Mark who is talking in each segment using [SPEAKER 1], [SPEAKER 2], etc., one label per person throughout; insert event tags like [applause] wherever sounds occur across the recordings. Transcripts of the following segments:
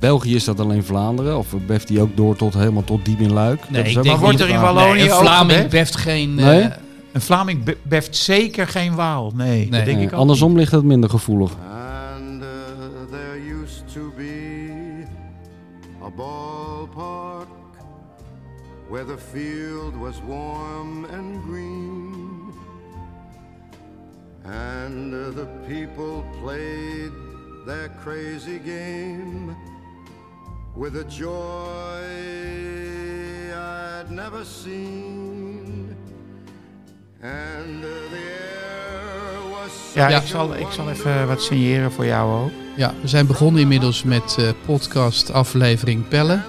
[SPEAKER 1] België is dat alleen Vlaanderen? Of beft die ook door tot helemaal tot diep in Luik?
[SPEAKER 2] Nee,
[SPEAKER 1] Dat is
[SPEAKER 2] ik
[SPEAKER 1] ook
[SPEAKER 2] denk
[SPEAKER 1] nog
[SPEAKER 2] niet
[SPEAKER 1] de
[SPEAKER 2] dat-
[SPEAKER 1] vraag.
[SPEAKER 2] Wallonië
[SPEAKER 3] Nee, een
[SPEAKER 2] ook
[SPEAKER 3] Vlaming
[SPEAKER 2] gebeft?
[SPEAKER 3] beft geen...
[SPEAKER 1] Nee?
[SPEAKER 3] eh,
[SPEAKER 2] Een Vlaming be- beft zeker geen Waal. Nee,
[SPEAKER 3] Nee.
[SPEAKER 2] dat denk
[SPEAKER 1] Nee,
[SPEAKER 2] ik ook
[SPEAKER 1] andersom ligt het minder gevoelig.
[SPEAKER 4] And uh, there used to be a ballpark where the field was warm and green, and uh, the people played their crazy game with a joy I'd never seen. And uh, the air was
[SPEAKER 2] Ja,
[SPEAKER 3] Ja.
[SPEAKER 2] Ik, zal, ik zal even wat signeren voor jou ook.
[SPEAKER 3] Ja, we zijn begonnen inmiddels met eh, podcast aflevering Pellen.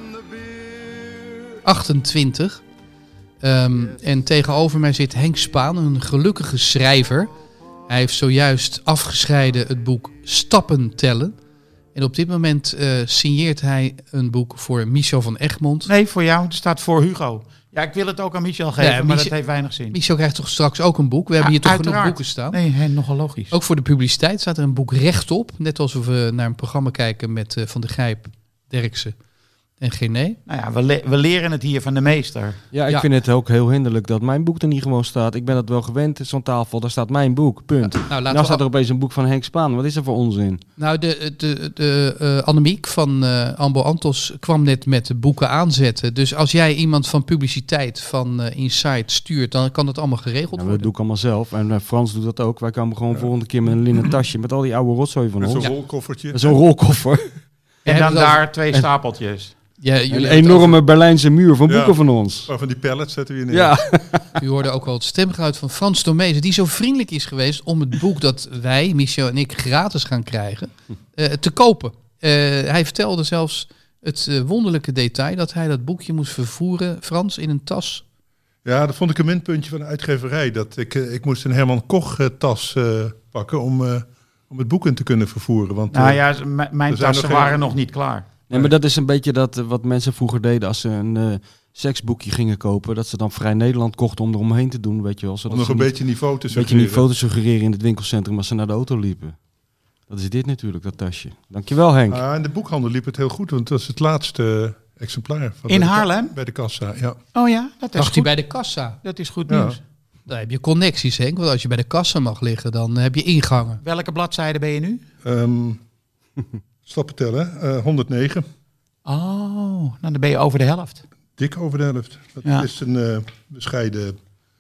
[SPEAKER 3] 28. Ehm, en tegenover mij zit Henk Spaan, een gelukkige schrijver. Hij heeft zojuist afgescheiden het boek Stappen tellen. En op dit moment eh, signeert hij een boek voor Michel van Egmond.
[SPEAKER 2] Nee, voor jou. Het staat voor Hugo. Ja, ik wil het ook aan Michel geven, maar
[SPEAKER 3] Michel-
[SPEAKER 2] dat heeft weinig zin.
[SPEAKER 3] Michel krijgt toch straks ook een boek? We hebben
[SPEAKER 2] Ja,
[SPEAKER 3] hier toch genoeg
[SPEAKER 2] uiteraard.
[SPEAKER 3] boeken staan?
[SPEAKER 2] Nee, hè, nogal logisch.
[SPEAKER 3] Ook voor de publiciteit staat er een boek rechtop. Net alsof we naar een programma kijken met eh, Van der Grijp, Derksen en Gené.
[SPEAKER 2] Nou ja, we, le- we leren het hier van de meester.
[SPEAKER 1] Ja, ik
[SPEAKER 3] Ja.
[SPEAKER 1] vind het ook heel hinderlijk dat mijn boek er niet gewoon staat. Ik ben dat wel gewend, zo'n tafel, daar staat mijn boek, punt.
[SPEAKER 3] Nou, laten
[SPEAKER 1] nou
[SPEAKER 3] we
[SPEAKER 1] staat er opeens een boek van Henk Spaan. Wat is dat voor onzin?
[SPEAKER 3] Nou, de, de, de eh, Annemiek van eh, Ambo Antos kwam net met de boeken aanzetten. Dus als jij iemand van publiciteit van eh Insight stuurt, dan kan dat allemaal geregeld
[SPEAKER 1] Nou, dat
[SPEAKER 3] worden.
[SPEAKER 1] doe ik allemaal zelf. En eh, Frans doet dat ook. Wij komen gewoon volgende keer met een linnen tasje met al die oude rotzooi van
[SPEAKER 5] Met zo'n
[SPEAKER 1] ons.
[SPEAKER 5] rolkoffertje.
[SPEAKER 1] Zo'n rolkoffer.
[SPEAKER 3] We
[SPEAKER 2] En
[SPEAKER 3] hebben
[SPEAKER 2] dan
[SPEAKER 3] het over-
[SPEAKER 2] daar twee stapeltjes.
[SPEAKER 3] Ja, jullie
[SPEAKER 1] Een
[SPEAKER 3] hebben het
[SPEAKER 1] enorme Berlijnse muur van
[SPEAKER 5] Ja.
[SPEAKER 1] boeken van ons.
[SPEAKER 5] Maar Oh, van die pallets zetten we hier neer.
[SPEAKER 1] Ja,
[SPEAKER 3] over- u hoorde ook al het stemgeluid van Frans Tomezen, die zo vriendelijk is geweest om het boek dat wij, Michel en ik, gratis gaan krijgen, eh, te kopen. Eh, hij vertelde zelfs het eh, wonderlijke detail dat hij dat boekje moest vervoeren, Frans, in een tas.
[SPEAKER 5] Ja, dat vond ik een minpuntje van de uitgeverij. Dat ik, eh, ik moest een Herman Koch-tas pakken om, eh, om het boek in te kunnen vervoeren. Want
[SPEAKER 2] Nou
[SPEAKER 5] eh,
[SPEAKER 2] ja, z- m- mijn
[SPEAKER 5] Er zijn
[SPEAKER 2] tassen
[SPEAKER 5] nog geen-
[SPEAKER 2] waren nog niet klaar.
[SPEAKER 1] nee, maar dat is een beetje dat, eh, wat mensen vroeger deden als ze een eh, seksboekje gingen kopen. Dat ze dan Vrij Nederland kochten om eromheen te doen, weet je wel.
[SPEAKER 5] om
[SPEAKER 1] Zodat
[SPEAKER 5] nog
[SPEAKER 1] ze
[SPEAKER 5] een
[SPEAKER 1] niet-
[SPEAKER 5] beetje niveau te
[SPEAKER 1] Een beetje niet
[SPEAKER 5] suggereren.
[SPEAKER 1] foto's suggereren in het winkelcentrum als ze naar de auto liepen. Dat is dit natuurlijk, dat tasje. Dankjewel Henk.
[SPEAKER 5] Ah, in de boekhandel liep het heel goed, want dat is het laatste eh, exemplaar. Van
[SPEAKER 2] In
[SPEAKER 5] bij de ka-
[SPEAKER 2] Haarlem?
[SPEAKER 5] Bij de kassa, ja.
[SPEAKER 2] Oh ja, dat is
[SPEAKER 3] Dacht hij
[SPEAKER 2] goed,
[SPEAKER 3] bij de kassa.
[SPEAKER 2] dat is goed
[SPEAKER 5] Ja.
[SPEAKER 2] nieuws.
[SPEAKER 3] Dan heb je connecties, Henk. Want als je bij de kassa mag liggen, dan heb je ingangen.
[SPEAKER 2] Welke bladzijde ben je nu? [laughs]
[SPEAKER 5] Ehm, stappen tellen, eh, 109.
[SPEAKER 2] Oh, nou dan ben je over de helft.
[SPEAKER 5] Dik over de helft. Dat
[SPEAKER 2] Ja.
[SPEAKER 5] is een eh, bescheiden...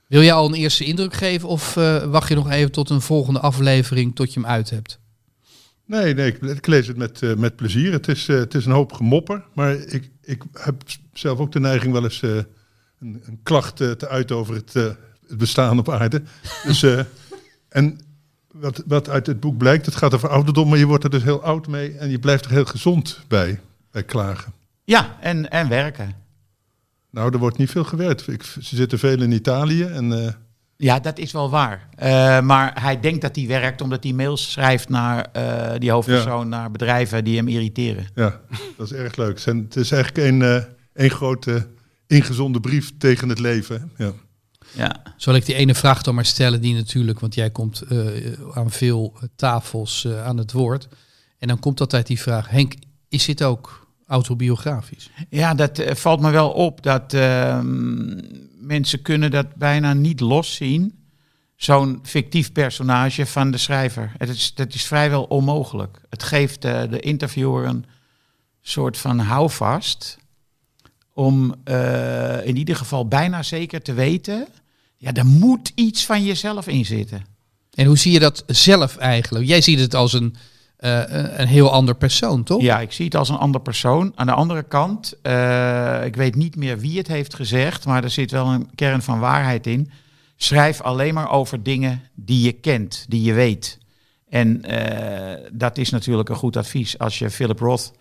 [SPEAKER 3] Wil jij al een eerste indruk geven of eh, wacht je nog even tot een volgende aflevering tot je hem uit hebt?
[SPEAKER 5] Nee, nee, ik, ik lees het met, eh, met plezier. Het is, eh, het is een hoop gemopper, maar ik, ik heb s- zelf ook de neiging wel eens eh, een, een klacht eh, te uiten over het, eh, het bestaan op aarde. Dus, eh, en wat, wat uit het boek blijkt, het gaat over ouderdom, maar je wordt er dus heel oud mee en je blijft er heel gezond bij, bij klagen.
[SPEAKER 2] Ja, en, en werken.
[SPEAKER 5] Nou, er wordt niet veel gewerkt. Ik, ze zitten veel in Italië en eh,
[SPEAKER 2] Ja, dat is wel waar. Eh, maar hij denkt dat hij werkt omdat hij mails schrijft naar eh, die hoofdpersoon, naar bedrijven die hem irriteren.
[SPEAKER 5] ja, dat is erg leuk. Het zijn- Het is eigenlijk één eh, één grote ingezonde brief tegen het leven. hè. Ja.
[SPEAKER 2] Ja.
[SPEAKER 3] Zal ik die ene vraag dan maar stellen die natuurlijk, want jij komt eh, aan veel eh, tafels eh, aan het woord. En dan komt altijd die vraag, Henk, is dit ook autobiografisch?
[SPEAKER 2] Ja, dat eh, valt me wel op. Dat ehm, mensen kunnen dat bijna niet loszien. Zo'n fictief personage van de schrijver. Het is, dat is vrijwel onmogelijk. Het geeft eh, de interviewer een soort van houvast. Om eh, in ieder geval bijna zeker te weten. Ja, er moet iets van jezelf in zitten.
[SPEAKER 3] En hoe zie je dat zelf eigenlijk? Jij ziet het als een, eh, een heel ander persoon, toch?
[SPEAKER 2] Ja, ik zie het als een ander persoon. Aan de andere kant, eh, ik weet niet meer wie het heeft gezegd, maar er zit wel een kern van waarheid in. Schrijf alleen maar over dingen die je kent, die je weet. En eh, dat is natuurlijk een goed advies. Als je Philip Roth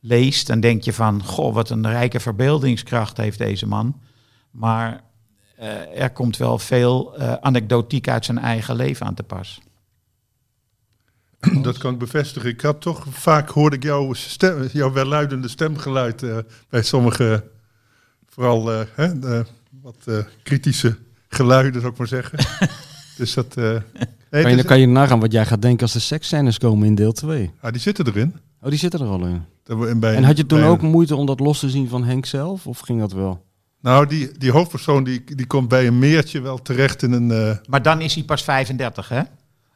[SPEAKER 2] leest, dan denk je van, goh, wat een rijke verbeeldingskracht heeft deze man. Maar eh, er komt wel veel eh, anekdotiek uit zijn eigen leven aan te pas.
[SPEAKER 5] [clears throat] Dat kan ik bevestigen. Ik had toch vaak hoorde ik jouw, stem, jouw welluidende stemgeluid eh, bij sommige, vooral eh, hè, eh, wat eh, kritische geluiden, zou ik maar zeggen.
[SPEAKER 3] [laughs]
[SPEAKER 5] dus dat. eh, nee,
[SPEAKER 1] kan, je,
[SPEAKER 5] dus-
[SPEAKER 1] dan kan je nagaan wat jij gaat denken als de seksscènes komen in deel 2.
[SPEAKER 5] ah, die zitten erin.
[SPEAKER 1] Oh, die zitten er al in.
[SPEAKER 5] Daar we- en bij-
[SPEAKER 1] En had je toen
[SPEAKER 5] bij-
[SPEAKER 1] ook moeite om dat los te zien van Henk zelf? Of ging dat wel?
[SPEAKER 5] Nou, die, die hoofdpersoon die, die komt bij een meertje wel terecht in een... eh,
[SPEAKER 2] Maar dan is hij pas 35, hè?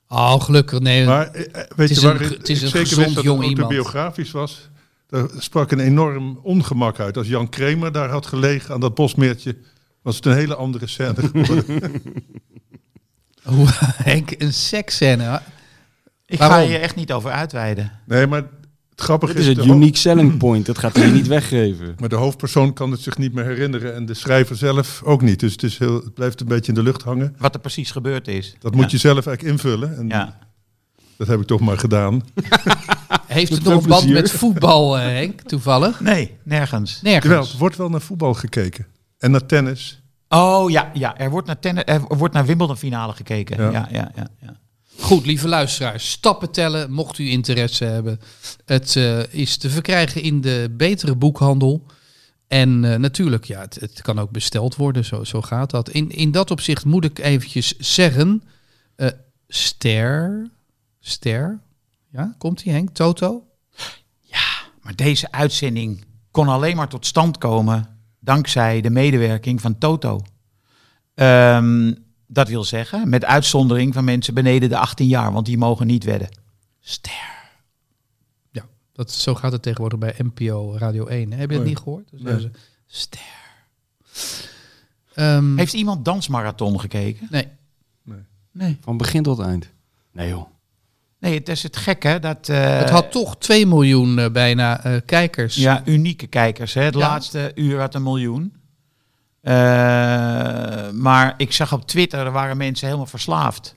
[SPEAKER 3] Oh, gelukkig. Nee,
[SPEAKER 5] maar eh, eh, weet
[SPEAKER 3] is
[SPEAKER 5] je waar
[SPEAKER 3] een
[SPEAKER 5] ik-
[SPEAKER 3] ge- het is
[SPEAKER 5] ik
[SPEAKER 3] een
[SPEAKER 5] zeker
[SPEAKER 3] gezond
[SPEAKER 5] wist dat
[SPEAKER 3] jong
[SPEAKER 5] het
[SPEAKER 3] iemand.
[SPEAKER 5] autobiografisch was? Daar sprak een enorm ongemak uit. Als Jan Kramer daar had gelegen aan dat bosmeertje, was het een hele andere scène
[SPEAKER 3] [laughs]
[SPEAKER 5] geworden.
[SPEAKER 3] hoe, [laughs] Henk, een seksscène. hoor.
[SPEAKER 2] Ik ga
[SPEAKER 3] Waarom?
[SPEAKER 2] je echt niet over uitweiden.
[SPEAKER 5] nee, maar het grappige
[SPEAKER 1] Dit is
[SPEAKER 5] de
[SPEAKER 1] het
[SPEAKER 5] hoofd-
[SPEAKER 1] unique
[SPEAKER 5] [clears throat]
[SPEAKER 1] selling point. Dat gaat hij niet weggeven.
[SPEAKER 5] Maar de hoofdpersoon kan het zich niet meer herinneren en de schrijver zelf ook niet. Dus het, is heel, het blijft een beetje in de lucht hangen.
[SPEAKER 2] Wat er precies gebeurd is.
[SPEAKER 5] Dat moet je zelf eigenlijk invullen. En
[SPEAKER 2] Ja.
[SPEAKER 5] dat heb ik toch maar gedaan.
[SPEAKER 3] Heeft het
[SPEAKER 1] veel
[SPEAKER 3] nog een band
[SPEAKER 1] plezier.
[SPEAKER 3] met voetbal, eh, Henk, toevallig?
[SPEAKER 2] Nee, nergens.
[SPEAKER 3] Nergens.
[SPEAKER 5] Jawel, er wordt wel naar voetbal gekeken. En naar tennis.
[SPEAKER 2] Oh ja, ja. Er, wordt naar tennis, er wordt naar Wimbledon finale gekeken. Ja.
[SPEAKER 5] Ja.
[SPEAKER 2] Ja, ja, ja,
[SPEAKER 3] Goed, lieve luisteraars, stappen tellen, mocht u interesse hebben. Het eh, is te verkrijgen in de betere boekhandel. En eh, natuurlijk, ja, het, het kan ook besteld worden, zo, zo gaat dat. In, in dat opzicht moet ik eventjes zeggen, eh, ster, ster, ja, komt die Henk, Toto?
[SPEAKER 2] Maar deze uitzending kon alleen maar tot stand komen dankzij de medewerking van Toto. Ehm, dat wil zeggen, met uitzondering van mensen beneden de 18 jaar, want die mogen niet wedden. Ster.
[SPEAKER 3] Ja, dat, zo gaat het tegenwoordig bij NPO Radio 1. hè? Heb je het niet gehoord? Dan zeggen ze, ster. Ehm,
[SPEAKER 2] Heeft iemand dansmarathon gekeken?
[SPEAKER 3] Nee,
[SPEAKER 2] Nee.
[SPEAKER 1] Van begin tot eind. Nee joh. Oh
[SPEAKER 2] Nee, het is het gekke dat... eh,
[SPEAKER 3] het had toch 2 miljoen eh, bijna eh, kijkers.
[SPEAKER 2] Ja, unieke kijkers. Hè? Het
[SPEAKER 3] Ja.
[SPEAKER 2] laatste uur had een miljoen. Eh, maar ik zag op Twitter, er waren mensen helemaal verslaafd.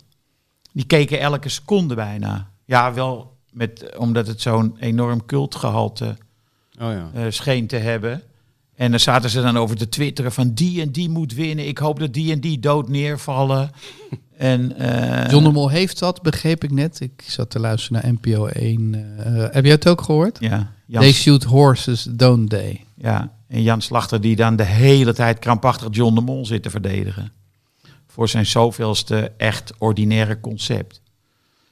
[SPEAKER 2] Die keken elke seconde bijna. Ja, wel met, omdat het zo'n enorm cultgehalte
[SPEAKER 1] Oh ja.
[SPEAKER 2] eh, scheen te hebben. En dan zaten ze dan over te twitteren van die en die moet winnen. Ik hoop dat die en die
[SPEAKER 3] [laughs]
[SPEAKER 2] dood neervallen. en, eh,
[SPEAKER 3] John de Mol heeft dat, begreep ik net. Ik zat te luisteren naar NPO 1. eh, heb jij het ook gehoord?
[SPEAKER 2] ja, Jan
[SPEAKER 3] They shoot horses, don't they?
[SPEAKER 2] Ja, en Jan Slachter die dan de hele tijd krampachtig John de Mol zit te verdedigen. Voor zijn zoveelste echt ordinaire concept.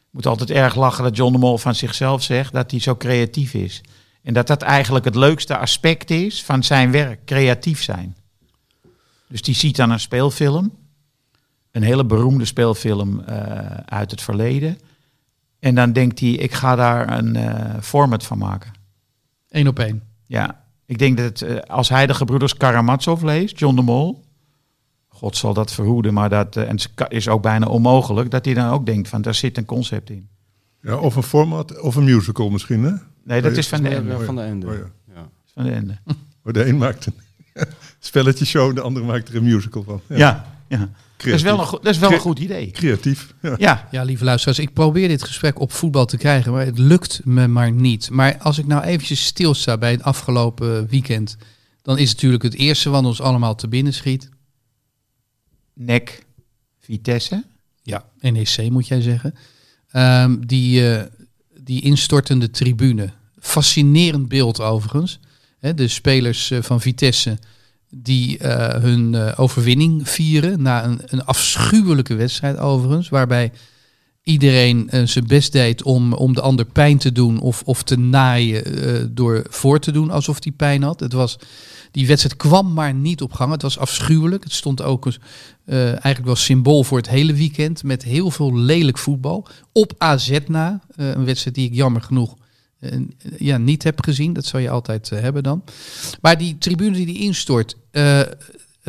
[SPEAKER 2] Moet altijd erg lachen dat John de Mol van zichzelf zegt dat hij zo creatief is. En dat dat eigenlijk het leukste aspect is van zijn werk, creatief zijn. Dus die ziet dan een speelfilm, een hele beroemde speelfilm eh, uit het verleden. En dan denkt hij, ik ga daar een eh, format van maken.
[SPEAKER 3] Eén op één.
[SPEAKER 2] Ja, ik denk dat eh, als hij de gebroeders Karamazov leest, John de Mol, God zal dat verhoeden, maar dat eh, en het ka- is ook bijna onmogelijk, dat hij dan ook denkt van daar zit een concept in.
[SPEAKER 5] Ja, of een format of een musical misschien. Hè?
[SPEAKER 2] Nee, dat
[SPEAKER 5] Nee,
[SPEAKER 2] is van de
[SPEAKER 1] Oh, Ja,
[SPEAKER 2] Ende.
[SPEAKER 1] Van de Ende.
[SPEAKER 5] Oh ja.
[SPEAKER 1] Ja.
[SPEAKER 2] Van de Ende.
[SPEAKER 5] Maar de een maakt een [laughs] spelletje show, de ander maakt er een musical van.
[SPEAKER 2] Ja, ja. Dat is
[SPEAKER 5] creatief.
[SPEAKER 2] wel een, goed- dat is wel een
[SPEAKER 5] Cre-
[SPEAKER 2] goed idee.
[SPEAKER 5] Creatief. Ja.
[SPEAKER 2] Ja,
[SPEAKER 3] Ja, lieve luisteraars, ik probeer dit gesprek op voetbal te krijgen, maar het lukt me maar niet. Maar als ik nou eventjes stilsta bij het afgelopen weekend, dan is natuurlijk het eerste wat ons allemaal te binnen schiet.
[SPEAKER 2] nek, Vitesse.
[SPEAKER 3] Ja, NEC moet jij zeggen. Ehm, die, eh, die instortende tribune. Fascinerend beeld overigens. Hè, de spelers eh, van Vitesse die eh, hun eh, overwinning vieren. Na een, een afschuwelijke wedstrijd overigens. Waarbij iedereen eh, zijn best deed om, om de ander pijn te doen of, of te naaien. eh, door voor te doen alsof hij pijn had. Het was, die wedstrijd kwam maar niet op gang. Het was afschuwelijk. Het stond ook eens eh, eigenlijk wel symbool voor het hele weekend. Met heel veel lelijk voetbal. Op AZ na. eh, een wedstrijd die ik jammer genoeg eh, ja, niet heb gezien. Dat zou je altijd eh, hebben dan. Maar die tribune die die instort. eh, een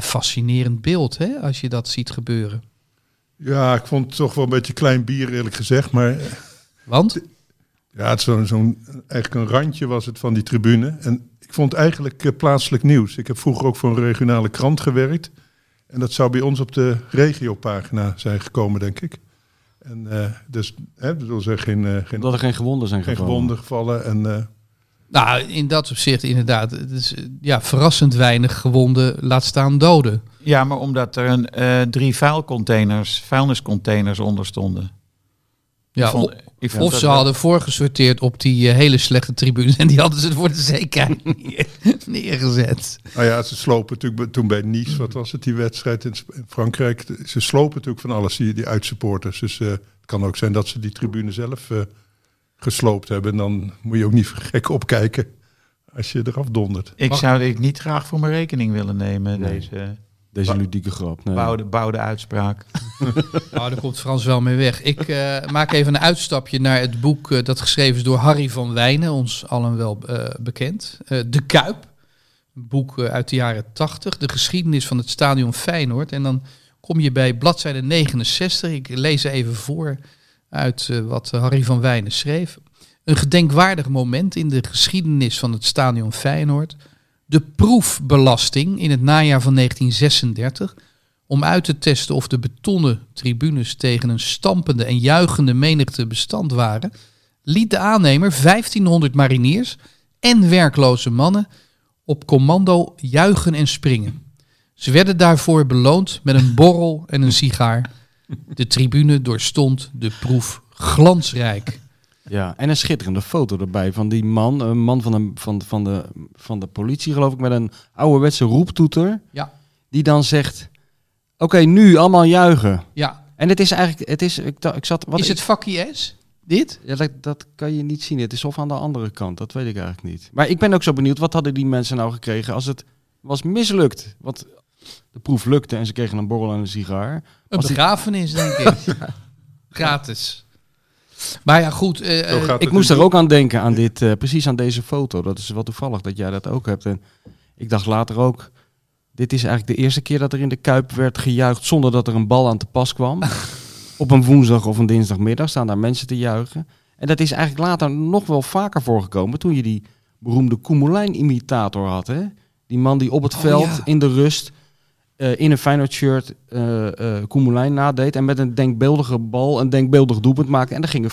[SPEAKER 3] fascinerend beeld hè, als je dat ziet gebeuren.
[SPEAKER 5] ja, ik vond het toch wel een beetje klein bier eerlijk gezegd. Maar
[SPEAKER 3] Want?
[SPEAKER 5] Ja, het zo'n, zo'n, eigenlijk een randje was het van die tribune. En ik vond eigenlijk eh, plaatselijk nieuws. Ik heb vroeger ook voor een regionale krant gewerkt. En dat zou bij ons op de regiopagina zijn gekomen, denk ik. En eh, dus, hè, ik bedoel, er zijn geen, eh, geen,
[SPEAKER 1] Omdat er geen gewonden zijn
[SPEAKER 5] geen
[SPEAKER 1] gevallen.
[SPEAKER 5] gewonden gevallen. En, eh,
[SPEAKER 3] Nou, in dat opzicht inderdaad. Het is eh, ja, verrassend weinig gewonden, laat staan doden.
[SPEAKER 2] Ja, maar omdat er een, eh, drie vuilcontainers, vuilniscontainers onder stonden.
[SPEAKER 3] Ja,
[SPEAKER 2] Ik vond- ik vond
[SPEAKER 3] of
[SPEAKER 2] dat
[SPEAKER 3] ze
[SPEAKER 2] wel-
[SPEAKER 3] hadden voorgesorteerd op die eh, hele slechte tribune. En die hadden ze voor de zekerheid [laughs] neer- neergezet.
[SPEAKER 5] nou ja, ze slopen natuurlijk bij- toen bij Nice, wat was het, die wedstrijd in Sp- in Frankrijk. Ze slopen natuurlijk van alles, die, die uitsupporters. Dus eh, het kan ook zijn dat ze die tribune zelf eh, gesloopt hebben. En dan moet je ook niet [laughs] gek opkijken als je eraf dondert.
[SPEAKER 2] Ik
[SPEAKER 5] Maar-
[SPEAKER 2] zou dit niet graag voor mijn rekening willen nemen,
[SPEAKER 1] Nee.
[SPEAKER 2] deze
[SPEAKER 1] Deze
[SPEAKER 2] Wa-
[SPEAKER 1] ludieke grap. Nee.
[SPEAKER 2] bouwde, bouwde uitspraak.
[SPEAKER 3] Nou, daar komt Frans wel mee weg. Ik eh, maak even een uitstapje naar het boek eh, dat geschreven is door Harry van Wijnen, ons allen wel eh, bekend. Eh, de Kuip, een boek eh, uit de jaren 80, de geschiedenis van het stadion Feyenoord. En dan kom je bij bladzijde 69, ik lees even voor uit eh, wat Harry van Wijnen schreef. Een gedenkwaardig moment in de geschiedenis van het stadion Feyenoord. De proefbelasting in het najaar van 1936 om uit te testen of de betonnen tribunes tegen een stampende en juichende menigte bestand waren, liet de aannemer 1500 mariniers en werkloze mannen op commando juichen en springen. Ze werden daarvoor beloond met een borrel en een sigaar. De tribune doorstond de proef glansrijk.
[SPEAKER 1] Ja, en een schitterende foto erbij van die man. Een man van de, van, van de, van de politie, geloof ik, met een ouderwetse roeptoeter.
[SPEAKER 3] Ja.
[SPEAKER 1] Die dan zegt: Oké, nu allemaal juichen.
[SPEAKER 3] Ja,
[SPEAKER 1] En het is eigenlijk, het is, ik, da- ik zat. Wat
[SPEAKER 3] is het vakkie S? Dit?
[SPEAKER 1] Ja, dat, dat kan je niet zien. Het is of aan de andere kant. Dat weet ik eigenlijk niet. Maar ik ben ook zo benieuwd. Wat hadden die mensen nou gekregen als het was mislukt? Want de proef lukte en ze kregen een borrel en een sigaar.
[SPEAKER 3] Een
[SPEAKER 1] Als die-
[SPEAKER 3] begrafenis,
[SPEAKER 1] [laughs]
[SPEAKER 3] denk ik. Gratis. Maar ja, goed. eh,
[SPEAKER 5] Zo
[SPEAKER 3] eh,
[SPEAKER 5] gaat
[SPEAKER 1] Ik
[SPEAKER 5] het
[SPEAKER 1] moest
[SPEAKER 5] in-
[SPEAKER 1] er ook aan denken, aan dit, eh, precies aan deze foto. Dat is wel toevallig dat jij dat ook hebt. En ik dacht later ook, dit is eigenlijk de eerste keer dat er in de Kuip werd gejuicht zonder dat er een bal aan te pas
[SPEAKER 3] [laughs]
[SPEAKER 1] kwam. Op een woensdag of een dinsdagmiddag staan daar mensen te juichen. En dat is eigenlijk later nog wel vaker voorgekomen toen je die beroemde Koemelijn-imitator had. Hè? Die man die op het
[SPEAKER 3] Oh,
[SPEAKER 1] veld
[SPEAKER 3] ja.
[SPEAKER 1] in de rust eh, in een Feyenoord shirt eh eh Koemelijn nadeed. En met een denkbeeldige bal een denkbeeldig doelpunt maakte. En er gingen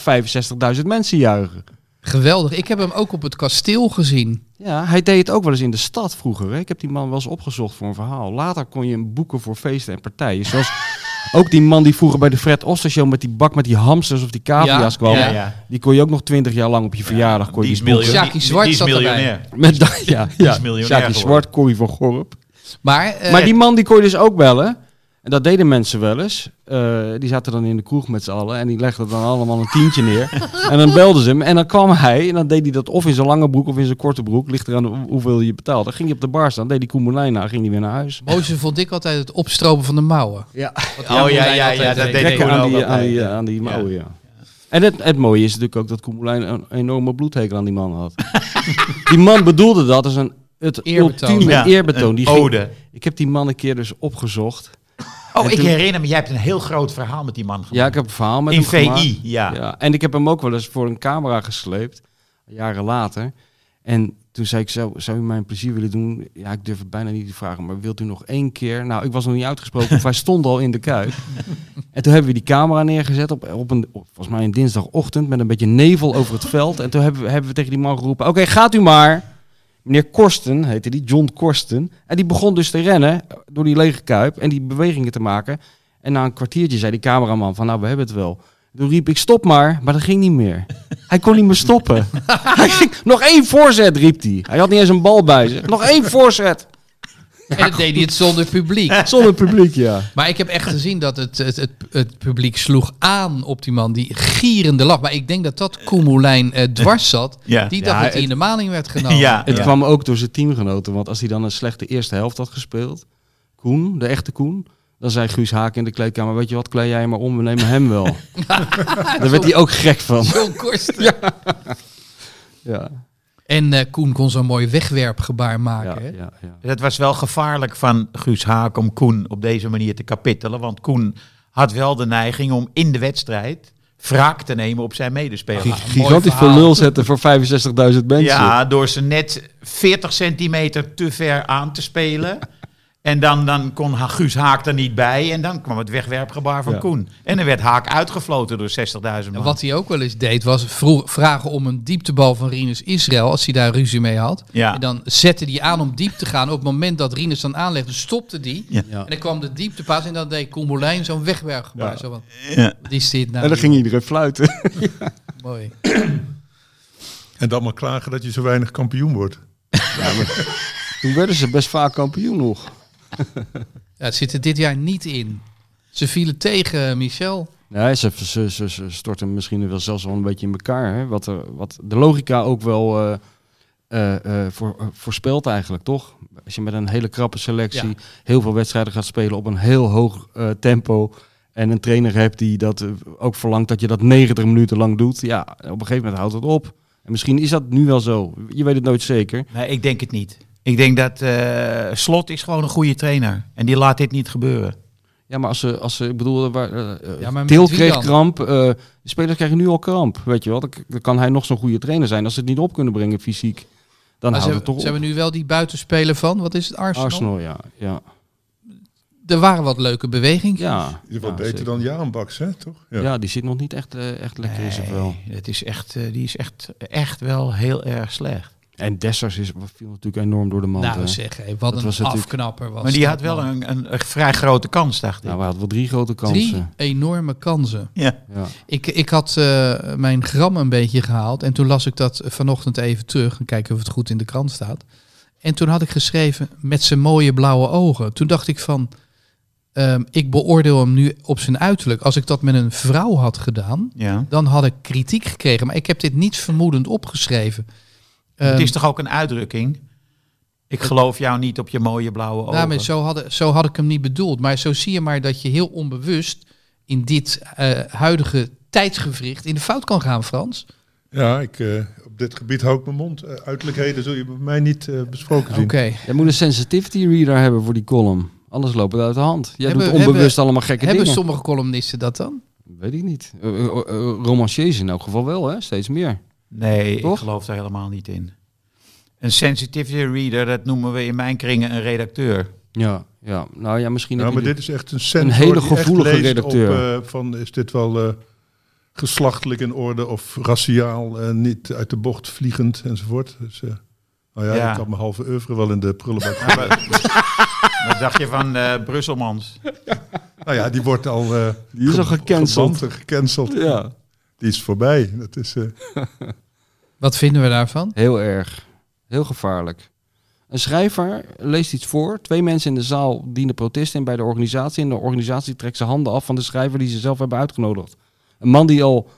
[SPEAKER 1] 65.000 mensen juichen.
[SPEAKER 3] Geweldig. Ik heb hem ook op het kasteel gezien.
[SPEAKER 1] Ja, hij deed het ook wel eens in de stad vroeger. Hè? Ik heb die man wel eens opgezocht voor een verhaal. Later kon je hem boeken voor feesten en partijen.
[SPEAKER 2] [laughs]
[SPEAKER 1] Zoals ook die man die vroeger bij de Fred Oster Show met die bak met die hamsters of die cavia's
[SPEAKER 3] Ja,
[SPEAKER 1] kwam.
[SPEAKER 2] ja, ja.
[SPEAKER 1] Die kon je ook nog twintig jaar lang op je verjaardag kon je die boeken.
[SPEAKER 3] miljoen- Sjaki Zwart
[SPEAKER 2] die is
[SPEAKER 3] zat erbij.
[SPEAKER 2] miljonair.
[SPEAKER 1] Met da- ja,
[SPEAKER 2] Die is
[SPEAKER 1] ja.
[SPEAKER 2] miljonair
[SPEAKER 1] Sjakie
[SPEAKER 2] geworden.
[SPEAKER 1] Zwart, Corrie van Gorp.
[SPEAKER 3] Maar, eh,
[SPEAKER 1] Maar die man die kon je dus ook bellen. En dat deden mensen wel eens. Eh, die zaten dan in de kroeg met z'n allen. En die legden dan allemaal een tientje
[SPEAKER 3] [laughs]
[SPEAKER 1] neer. en dan belden ze hem. En dan kwam hij. En dan deed hij dat of in zijn lange broek of in zijn korte broek. Ligt eraan hoe- hoeveel je betaalt. Dan ging hij op de bar staan. Deed die Koemelijn na. Ging hij weer naar huis.
[SPEAKER 3] Mozes vond ik altijd het opstropen van de mouwen.
[SPEAKER 1] Ja.
[SPEAKER 3] Wat
[SPEAKER 2] Oh, ja, ja,
[SPEAKER 3] Jan
[SPEAKER 2] ja,
[SPEAKER 3] altijd
[SPEAKER 2] dat deed
[SPEAKER 1] Trekken
[SPEAKER 2] Koen
[SPEAKER 1] aan
[SPEAKER 2] ook
[SPEAKER 1] eh, die,
[SPEAKER 2] altijd,
[SPEAKER 1] aan die, eh,
[SPEAKER 2] ja.
[SPEAKER 1] aan die mouwen, ja. En het, het mooie is natuurlijk ook dat Koemelijn een enorme bloedhekel aan die man
[SPEAKER 3] [laughs]
[SPEAKER 1] had. die man bedoelde dat als een... Het
[SPEAKER 3] Eerbetoon.
[SPEAKER 1] ultieme
[SPEAKER 2] Ja,
[SPEAKER 1] eerbetoon. Die
[SPEAKER 2] een
[SPEAKER 1] ging-
[SPEAKER 2] ode.
[SPEAKER 1] ik heb die man een keer dus opgezocht.
[SPEAKER 2] Oh,
[SPEAKER 1] En
[SPEAKER 2] ik
[SPEAKER 1] toen-
[SPEAKER 2] herinner me, jij hebt een heel groot verhaal met die man gemaakt.
[SPEAKER 1] Ja, ik heb een verhaal met
[SPEAKER 2] In
[SPEAKER 1] hem gemaakt.
[SPEAKER 2] VI, [laughs] ja.
[SPEAKER 1] Ja, en ik heb hem ook wel eens voor een camera gesleept, jaren later. En toen zei ik, zou, zou u mij een plezier willen doen? Ja, ik durf het bijna niet te vragen, maar wilt u nog één keer? Nou, ik was nog niet uitgesproken, want wij stonden al in de kuik. En toen hebben we die camera neergezet op, op een, op, volgens mij een dinsdagochtend, met een beetje nevel over het veld. En toen hebben we, hebben we tegen die man geroepen, oké, gaat u maar. Meneer Korsten heette die, John Korsten. En die begon dus te rennen door die lege kuip en die bewegingen te maken. En na een kwartiertje zei die cameraman van, nou, we hebben het wel. Toen riep ik stop maar, maar dat ging niet meer. Hij kon niet meer [laughs] stoppen. hij ging, nog één voorzet, riep hij. Hij had niet eens een bal bij zich. Nog één voorzet.
[SPEAKER 3] En dat deed hij het zonder publiek.
[SPEAKER 1] Zonder publiek, ja.
[SPEAKER 3] Maar ik heb echt gezien dat het, het, het, het publiek sloeg aan op die man. Die gierende lach. Maar ik denk dat dat Koemelijn eh, dwars zat.
[SPEAKER 2] Ja.
[SPEAKER 3] Die dacht
[SPEAKER 2] Ja,
[SPEAKER 3] dat hij in de maling werd genomen.
[SPEAKER 2] ja,
[SPEAKER 1] Nou, Het
[SPEAKER 2] ja.
[SPEAKER 1] kwam ook door zijn teamgenoten. Want als hij dan een slechte eerste helft had gespeeld, Koen, de echte Koen, dan zei Guus Haak in de kleedkamer, weet je wat, klei jij hem maar om, we nemen hem [laughs] wel. Daar werd hij ook gek van.
[SPEAKER 3] John Korsten.
[SPEAKER 1] Ja,
[SPEAKER 3] En eh, Koen kon zo'n mooi wegwerpgebaar
[SPEAKER 1] ja,
[SPEAKER 3] maken. hè?
[SPEAKER 1] ja, ja.
[SPEAKER 2] Dat was wel gevaarlijk van Guus Haak om Koen op deze manier te kapittelen. Want Koen had wel de neiging om in de wedstrijd wraak te nemen op zijn medespeler.
[SPEAKER 1] Gigantisch voor
[SPEAKER 3] verhaal.
[SPEAKER 1] lul zetten voor 65.000 mensen.
[SPEAKER 2] Ja, door ze net 40 centimeter te ver aan te spelen. En dan, dan kon Ha- Guus Haak er niet bij. En dan kwam het wegwerpgebaar van
[SPEAKER 1] Ja.
[SPEAKER 2] Koen. En dan werd Haak uitgefloten door 60.000
[SPEAKER 3] En
[SPEAKER 2] man.
[SPEAKER 3] Wat hij ook wel eens deed was vroeg, vragen om een dieptebal van Rinus Israël als hij daar ruzie mee had.
[SPEAKER 2] Ja.
[SPEAKER 3] En dan zette hij aan om diep te gaan. Op het moment dat Rinus dan aanlegde, stopte die.
[SPEAKER 2] Ja.
[SPEAKER 1] Ja.
[SPEAKER 3] En dan kwam de dieptepaas en dan deed Koemolijn zo'n wegwerpgebaar.
[SPEAKER 1] Ja.
[SPEAKER 3] Zo van,
[SPEAKER 2] Ja.
[SPEAKER 3] wat is dit nou?
[SPEAKER 1] En dan ging iedereen fluiten.
[SPEAKER 3] joh? Mooi.
[SPEAKER 5] En dan maar klagen dat je zo weinig kampioen wordt.
[SPEAKER 1] Toen werden ze best vaak kampioen nog.
[SPEAKER 3] Ja, het zit er dit jaar niet in. Ze vielen tegen eh, Michel.
[SPEAKER 1] Nee, ze, ze, ze, ze storten misschien wel zelfs wel een beetje in elkaar. Hè? Wat, er, wat de logica ook wel eh, eh, eh, voor, eh, voorspelt eigenlijk, toch? Als je met een hele krappe selectie
[SPEAKER 3] Ja.
[SPEAKER 1] heel veel wedstrijden gaat spelen op een heel hoog eh, tempo... en een trainer hebt die dat eh, ook verlangt dat je dat 90 minuten lang doet... ja, op een gegeven moment houdt het op. En misschien is dat nu wel zo. Je weet het nooit zeker.
[SPEAKER 2] Nee, ik denk het niet. Ik denk dat eh, Slot is gewoon een goede trainer. En die laat dit niet gebeuren.
[SPEAKER 1] Ja, maar als ze, als ze ik bedoel, waar, eh, eh,
[SPEAKER 3] Ja, maar met
[SPEAKER 1] Til
[SPEAKER 3] wie
[SPEAKER 1] kreeg
[SPEAKER 3] dan?
[SPEAKER 1] kramp, eh, de spelers krijgen nu al kramp, weet je wel. Dan, k- dan kan hij nog zo'n goede trainer zijn. Als ze het niet op kunnen brengen fysiek, dan
[SPEAKER 3] Maar
[SPEAKER 1] houdt het
[SPEAKER 3] ze, hebben-
[SPEAKER 1] toch
[SPEAKER 3] ze
[SPEAKER 1] op.
[SPEAKER 3] hebben nu wel die buitenspeler van, wat is het, Arsenal?
[SPEAKER 1] Arsenal, ja. Ja,
[SPEAKER 3] Er waren wat leuke bewegingen.
[SPEAKER 1] ja.
[SPEAKER 5] In ieder geval
[SPEAKER 1] Ja,
[SPEAKER 5] beter
[SPEAKER 1] zeker.
[SPEAKER 5] dan Jaan Baks, hè? Toch?
[SPEAKER 1] Ja. die zit nog niet echt, eh, echt lekker in zijn vel.
[SPEAKER 2] Nee, dat is echt, eh, die is echt, echt wel heel erg slecht.
[SPEAKER 1] En Dessers is, viel natuurlijk enorm door de mand. hè.
[SPEAKER 3] nou, zeg, hé, wat
[SPEAKER 1] Dat
[SPEAKER 3] een
[SPEAKER 1] eh, was natuurlijk-
[SPEAKER 3] afknapper was
[SPEAKER 2] Maar die
[SPEAKER 3] dat,
[SPEAKER 2] had wel
[SPEAKER 3] man.
[SPEAKER 2] een, een, een vrij grote kans, dacht ik.
[SPEAKER 1] Nou, we hadden wel drie grote
[SPEAKER 3] Drie
[SPEAKER 1] kansen.
[SPEAKER 3] enorme kansen.
[SPEAKER 2] ja.
[SPEAKER 1] Ja.
[SPEAKER 3] Ik, ik had eh, mijn gram een beetje gehaald. En toen las ik dat vanochtend even terug. En kijken of het goed in de krant staat. En toen had ik geschreven met zijn mooie blauwe ogen. Toen dacht ik van, ehm, ik beoordeel hem nu op zijn uiterlijk. Als ik dat met een vrouw had gedaan,
[SPEAKER 2] ja.
[SPEAKER 3] dan had ik kritiek gekregen. Maar ik heb dit niet vermoedend opgeschreven.
[SPEAKER 2] het
[SPEAKER 3] Ehm,
[SPEAKER 2] is toch ook een uitdrukking? Ik geloof jou niet op je mooie blauwe ogen.
[SPEAKER 3] Nou, maar zo, had, zo had ik hem niet bedoeld. Maar zo zie je maar dat je heel onbewust in dit eh, huidige tijdsgevricht in de fout kan gaan, Frans.
[SPEAKER 5] Ja, ik, eh, op dit gebied hou ik mijn mond. Eh, uiterlijkheden zul je bij mij niet eh, besproken
[SPEAKER 3] Oké.
[SPEAKER 5] zien.
[SPEAKER 1] Jij moet een sensitivity reader hebben voor die column. Anders loopt het uit de hand. Jij
[SPEAKER 3] Hebben-
[SPEAKER 1] doet onbewust
[SPEAKER 3] hebben-
[SPEAKER 1] allemaal gekke
[SPEAKER 3] Hebben
[SPEAKER 1] dingen.
[SPEAKER 3] sommige columnisten dat dan?
[SPEAKER 1] Weet ik niet. Eh, eh, eh, romanciers in elk geval wel, hè? Steeds meer.
[SPEAKER 2] Nee, ik
[SPEAKER 1] Toch?
[SPEAKER 2] geloof daar helemaal niet in. Een sensitivity reader, dat noemen we in mijn kringen een redacteur.
[SPEAKER 1] Ja, ja. nou ja, misschien...
[SPEAKER 5] Nou,
[SPEAKER 1] heb
[SPEAKER 5] maar
[SPEAKER 1] je
[SPEAKER 5] dit is echt een sensor
[SPEAKER 1] hele
[SPEAKER 5] die echt
[SPEAKER 1] gevoelige
[SPEAKER 5] leest
[SPEAKER 1] redacteur.
[SPEAKER 5] Op, eh, van is dit wel eh, geslachtelijk in orde of raciaal, eh, niet uit de bocht vliegend enzovoort. Dus, eh, nou ja,
[SPEAKER 2] Ja.
[SPEAKER 5] ik had mijn halve oeuvre wel in de
[SPEAKER 1] [laughs]
[SPEAKER 5] prullenbak.
[SPEAKER 3] [laughs]
[SPEAKER 2] Ja, maar- Wat dacht je van eh, Brusselmans?
[SPEAKER 5] nou ja, die wordt al, eh,
[SPEAKER 1] Die is al
[SPEAKER 5] ge-
[SPEAKER 1] gecanceld.
[SPEAKER 5] geband en gecanceld.
[SPEAKER 1] Ja.
[SPEAKER 5] Die is voorbij. Dat is, eh,
[SPEAKER 3] Wat vinden we daarvan?
[SPEAKER 1] Heel erg. Heel gevaarlijk. Een schrijver leest iets voor. Twee mensen in de zaal dienen protest in bij de organisatie. En de organisatie trekt zijn handen af van de schrijver die ze zelf hebben uitgenodigd. Een man die al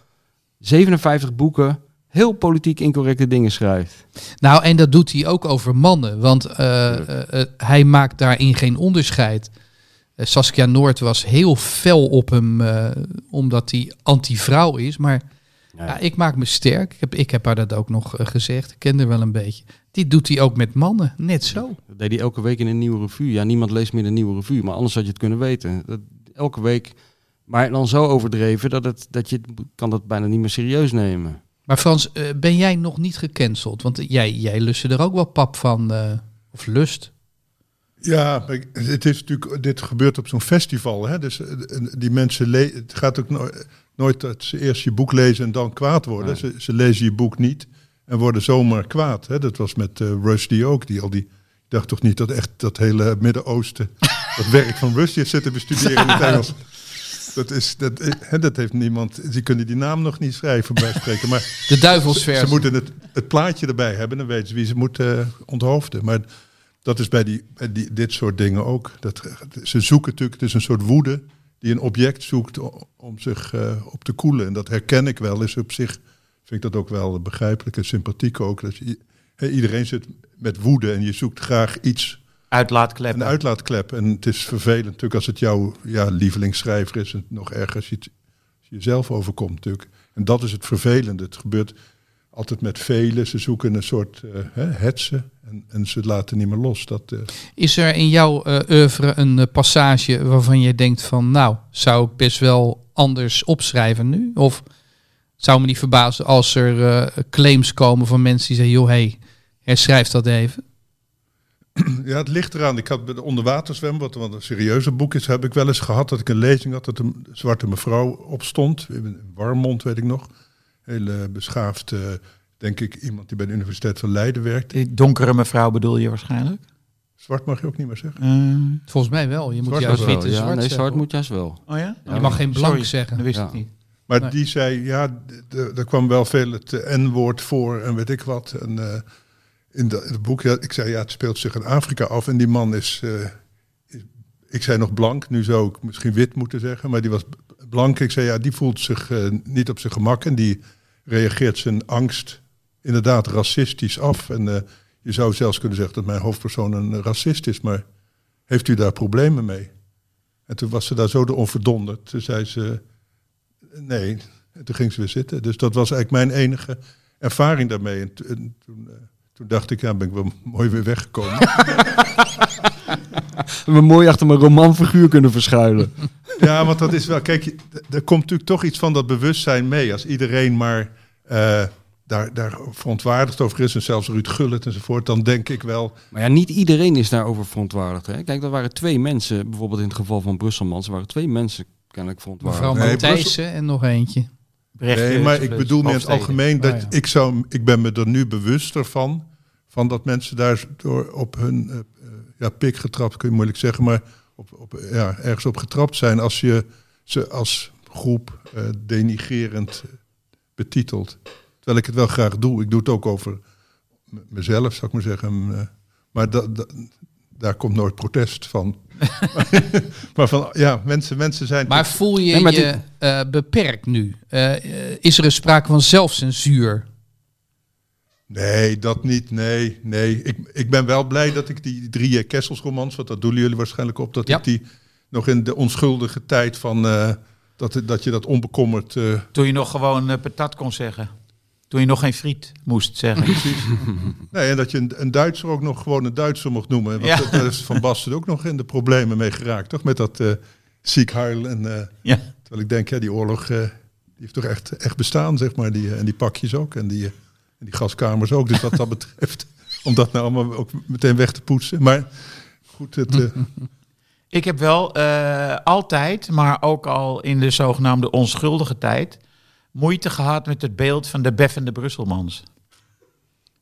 [SPEAKER 1] 57 boeken heel politiek incorrecte dingen schrijft.
[SPEAKER 3] Nou, en dat doet hij ook over mannen, want eh, eh, eh, hij maakt daarin geen onderscheid. Eh, Saskia Noord was heel fel op hem, eh, omdat hij anti-vrouw is. Maar
[SPEAKER 1] Ja.
[SPEAKER 3] ja, ik maak me sterk. Ik heb, ik heb haar dat ook nog eh, gezegd. Ik ken haar wel een beetje. Dit doet hij ook met mannen, net zo.
[SPEAKER 1] Dat deed hij elke week in een nieuwe revue. Ja, niemand leest meer een nieuwe revue, maar anders had je het kunnen weten. Dat, elke week, maar dan zo overdreven dat, het, dat je het- kan dat bijna niet meer serieus nemen.
[SPEAKER 3] Maar Frans, eh, ben jij nog niet gecanceld? Want eh, jij, jij lustte er ook wel pap van. eh, of lust.
[SPEAKER 5] Ja, maar ik- het is natuurlijk, dit gebeurt op zo'n festival. Hè? Dus eh, die mensen, le- het gaat ook no- nooit dat ze eerst je boek lezen en dan kwaad worden.
[SPEAKER 1] Nee.
[SPEAKER 5] Ze, ze lezen je boek niet en worden zomaar kwaad. Hè? Dat was met eh Rushdie ook, die al die... Ik dacht toch niet dat echt dat hele Midden-Oosten, dat werk van Rushdie heeft zitten bestuderen in het Engels. Dat, is, dat, eh, hè, dat heeft niemand, ze kunnen die naam nog niet schrijven bij spreken, maar
[SPEAKER 3] De duivelsversie.
[SPEAKER 5] ze moeten het, het plaatje erbij hebben, dan weten ze wie ze moeten eh, onthoofden. Maar dat is bij, die, bij die, dit soort dingen ook. Dat, ze zoeken natuurlijk, het is een soort woede die een object zoekt o- om zich eh, op te koelen. En dat herken ik wel. Is op zich vind ik dat ook wel begrijpelijk en sympathiek ook. Dat je, hè, iedereen zit met woede en je zoekt graag iets
[SPEAKER 2] Uitlaatkleppen.
[SPEAKER 5] een uitlaatklep. En het is vervelend natuurlijk als het jouw ja, lievelingsschrijver is. En nog erger als je het als je jezelf overkomt natuurlijk. En dat is het vervelende. Het gebeurt altijd met velen. Ze zoeken een soort eh, hè, hetsen en, en ze laten niet meer los. Dat, eh,
[SPEAKER 3] Is er in jouw eh oeuvre een eh, passage waarvan je denkt van... nou, zou ik best wel anders opschrijven nu? Of zou me niet verbazen als er eh, claims komen van mensen die zeggen... joh, hé, hey, herschrijf dat even.
[SPEAKER 5] [clears throat] Ja, het ligt eraan. Ik had bij de onderwaterzwem, wat wat een serieuze boek is, heb ik wel eens gehad dat ik een lezing had dat een zwarte mevrouw opstond. In Warmond, weet ik nog. Hele beschaafd, eh, denk ik, iemand die bij de Universiteit van Leiden werkt.
[SPEAKER 2] Die donkere mevrouw bedoel je waarschijnlijk?
[SPEAKER 5] Zwart mag je ook niet meer zeggen.
[SPEAKER 2] Eh,
[SPEAKER 3] Volgens mij wel. Je moet
[SPEAKER 5] Zwart
[SPEAKER 3] juist
[SPEAKER 5] was wel,
[SPEAKER 3] wit en
[SPEAKER 1] ja,
[SPEAKER 3] zwart
[SPEAKER 1] nee,
[SPEAKER 3] zeggen.
[SPEAKER 1] zwart moet juist wel.
[SPEAKER 2] oh ja?
[SPEAKER 1] Ja,
[SPEAKER 3] Je mag geen blank
[SPEAKER 2] Sorry,
[SPEAKER 3] zeggen.
[SPEAKER 2] Dat wist
[SPEAKER 1] Ja.
[SPEAKER 2] ik niet.
[SPEAKER 5] Maar
[SPEAKER 3] Nee.
[SPEAKER 5] die zei, ja, d- d- er kwam wel veel het eh, N-woord voor en weet ik wat. En eh, in dat- in het boek, ja, ik zei, ja, het speelt zich in Afrika af. En die man is, eh, is- ik zei nog blank, nu zou ik misschien wit moeten zeggen, maar die was b- Blank, ik zei ja, die voelt zich eh, niet op zijn gemak en die reageert zijn angst inderdaad racistisch af. En eh, je zou zelfs kunnen zeggen dat mijn hoofdpersoon een racist is, maar heeft u daar problemen mee? En toen was ze daar zo door onverdonderd. Toen zei ze nee. En toen ging ze weer zitten. Dus dat was eigenlijk mijn enige ervaring daarmee. En, to- en toen, eh, toen dacht ik, ja, ben ik wel [laughs] mooi weer weggekomen.
[SPEAKER 1] me mooi achter mijn romanfiguur kunnen verschuilen.
[SPEAKER 5] Ja, want dat is wel. Kijk, je- d- er komt natuurlijk toch iets van dat bewustzijn mee. Als iedereen maar eh, daar, daar verontwaardigd over is, en zelfs Ruud Gullit enzovoort, dan denk ik wel.
[SPEAKER 1] Maar ja, niet iedereen is daarover verontwaardigd. Hè? Kijk, dat waren twee mensen, bijvoorbeeld in het geval van Brusselmans, er waren twee mensen kennelijk
[SPEAKER 3] Mevrouw
[SPEAKER 1] verontwaardigd.
[SPEAKER 5] Nee,
[SPEAKER 3] Matthijssen en nog eentje.
[SPEAKER 2] Brecht,
[SPEAKER 5] nee,
[SPEAKER 2] eh,
[SPEAKER 5] maar ik bedoel meer in het
[SPEAKER 2] hoofdsteden.
[SPEAKER 5] algemeen dat
[SPEAKER 3] Ah, ja.
[SPEAKER 5] ik zou. Ik ben me er nu bewuster van. Van dat mensen daar door op hun eh, eh, ja, pik getrapt, kun je moeilijk zeggen, maar op, op, ja, ergens op getrapt zijn als je ze als groep eh, denigerend eh, betitelt. Terwijl ik het wel graag doe. Ik doe het ook over m- mezelf, zou ik maar zeggen. Eh, Maar da- da- daar komt nooit protest van. [laughs] maar van, ja, mensen, mensen zijn...
[SPEAKER 3] Maar voel je
[SPEAKER 1] Nee, maar
[SPEAKER 3] je
[SPEAKER 1] dit-
[SPEAKER 3] eh, beperkt nu? Eh, eh, is er een sprake van zelfcensuur?
[SPEAKER 5] Nee, dat niet. Nee, nee. Ik, ik ben wel blij dat ik die drie eh, Kessels-romans, want dat doelen jullie waarschijnlijk op, dat
[SPEAKER 3] Ja.
[SPEAKER 5] ik die nog in de onschuldige tijd van eh, dat, dat je dat onbekommerd. eh,
[SPEAKER 2] Toen je nog gewoon eh, patat kon zeggen. Toen je nog geen friet moest
[SPEAKER 5] [laughs]
[SPEAKER 2] zeggen.
[SPEAKER 5] nee, en dat je een, een Duitser ook nog gewoon een Duitser mocht noemen. Want
[SPEAKER 2] Ja.
[SPEAKER 5] dat- daar is Van Basten ook nog in de problemen mee geraakt, toch? Met dat eh ziek huil. En, eh,
[SPEAKER 2] ja.
[SPEAKER 5] terwijl ik denk, ja, die oorlog eh, die heeft toch echt, echt bestaan, zeg maar. Die, eh, en die pakjes ook. En die, eh, en die gaskamers ook. Dus wat dat [laughs] betreft, om dat nou allemaal ook meteen weg te poetsen. Maar goed, het. eh,
[SPEAKER 2] Ik heb wel eh, altijd, maar ook al in de zogenaamde onschuldige tijd, moeite gehad met het beeld van de beffende Brusselmans.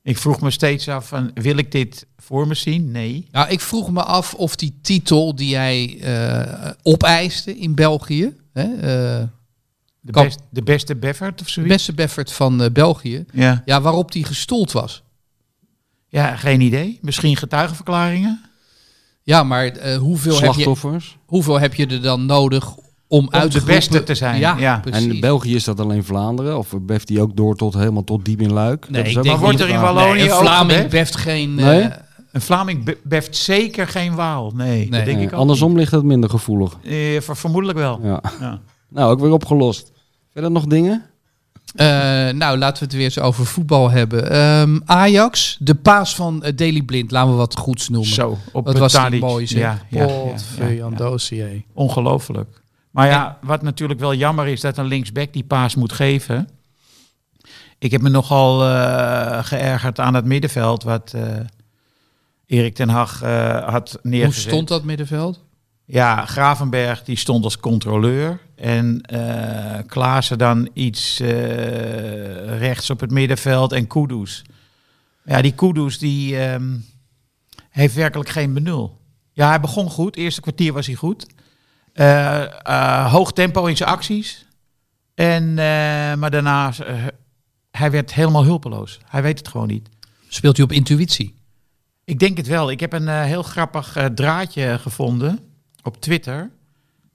[SPEAKER 2] Ik vroeg me steeds af van, wil ik dit voor me zien? Nee.
[SPEAKER 3] Nou, ik vroeg me af of die titel die jij eh, opeiste in België, hè, eh,
[SPEAKER 2] De,
[SPEAKER 3] Kan-
[SPEAKER 2] best- de beste Beffert of
[SPEAKER 3] de
[SPEAKER 2] zoiets?
[SPEAKER 3] beste Beffert van eh, België,
[SPEAKER 2] Ja.
[SPEAKER 3] ja, waarop die gestoeld was.
[SPEAKER 2] ja, geen idee. Misschien getuigenverklaringen?
[SPEAKER 3] Ja, maar eh, hoeveel, heb je,
[SPEAKER 1] Slachtoffers.
[SPEAKER 3] hoeveel heb je er dan nodig om,
[SPEAKER 2] Om
[SPEAKER 3] uit
[SPEAKER 2] de beste te zijn. Ja.
[SPEAKER 3] Ja,
[SPEAKER 1] En
[SPEAKER 3] precies.
[SPEAKER 1] in België is dat alleen Vlaanderen, of beft die ook door tot helemaal tot diep in Luik?
[SPEAKER 3] Nee,
[SPEAKER 1] Dat is
[SPEAKER 3] ik
[SPEAKER 1] ook
[SPEAKER 3] denk
[SPEAKER 1] nog
[SPEAKER 2] niet.
[SPEAKER 1] een
[SPEAKER 2] Wordt er in
[SPEAKER 1] vraag.
[SPEAKER 2] Wallonië-
[SPEAKER 3] Nee, een
[SPEAKER 2] ook
[SPEAKER 3] Vlaming
[SPEAKER 2] gebeft?
[SPEAKER 3] beft geen...
[SPEAKER 1] Nee?
[SPEAKER 3] eh,
[SPEAKER 2] Een Vlaming be- beft zeker geen Waal. Nee,
[SPEAKER 3] Nee.
[SPEAKER 2] dat denk
[SPEAKER 1] Nee,
[SPEAKER 2] ik ook
[SPEAKER 1] andersom ligt het minder gevoelig.
[SPEAKER 2] niet. Eh, ver- vermoedelijk wel.
[SPEAKER 1] Ja.
[SPEAKER 2] Ja.
[SPEAKER 1] Nou, ook weer opgelost. Verder nog dingen?
[SPEAKER 3] Eh, nou, laten we het weer eens over voetbal hebben. Ehm, Ajax, de paas van Daily Deli Blind, laten we wat goeds noemen.
[SPEAKER 2] Zo, op
[SPEAKER 3] dat was die
[SPEAKER 2] Tadic.
[SPEAKER 3] mooi zeg. Oh,
[SPEAKER 2] Ja, ja, ja, ja,
[SPEAKER 3] Potverdorie,
[SPEAKER 2] ja.
[SPEAKER 3] Andosie.
[SPEAKER 2] Ongelooflijk. Maar ja, wat natuurlijk wel jammer is dat een linksback die paas moet geven. Ik heb me nogal eh, geërgerd aan het middenveld wat eh, Erik ten Hag eh, had neergezet.
[SPEAKER 3] Hoe stond dat middenveld?
[SPEAKER 2] Ja, Gravenberg die stond als controleur. En eh Klaassen dan iets eh, rechts op het middenveld. En Kudus. Ja, die Kudus die ehm, heeft werkelijk geen benul. Ja, hij begon goed. Eerste kwartier was hij goed. Eh, eh, hoog tempo in zijn acties. En, eh, maar daarna, eh, hij werd helemaal hulpeloos. Hij weet het gewoon niet.
[SPEAKER 3] Speelt hij op intuïtie?
[SPEAKER 2] Ik denk het wel. Ik heb een eh, heel grappig eh, draadje gevonden op Twitter.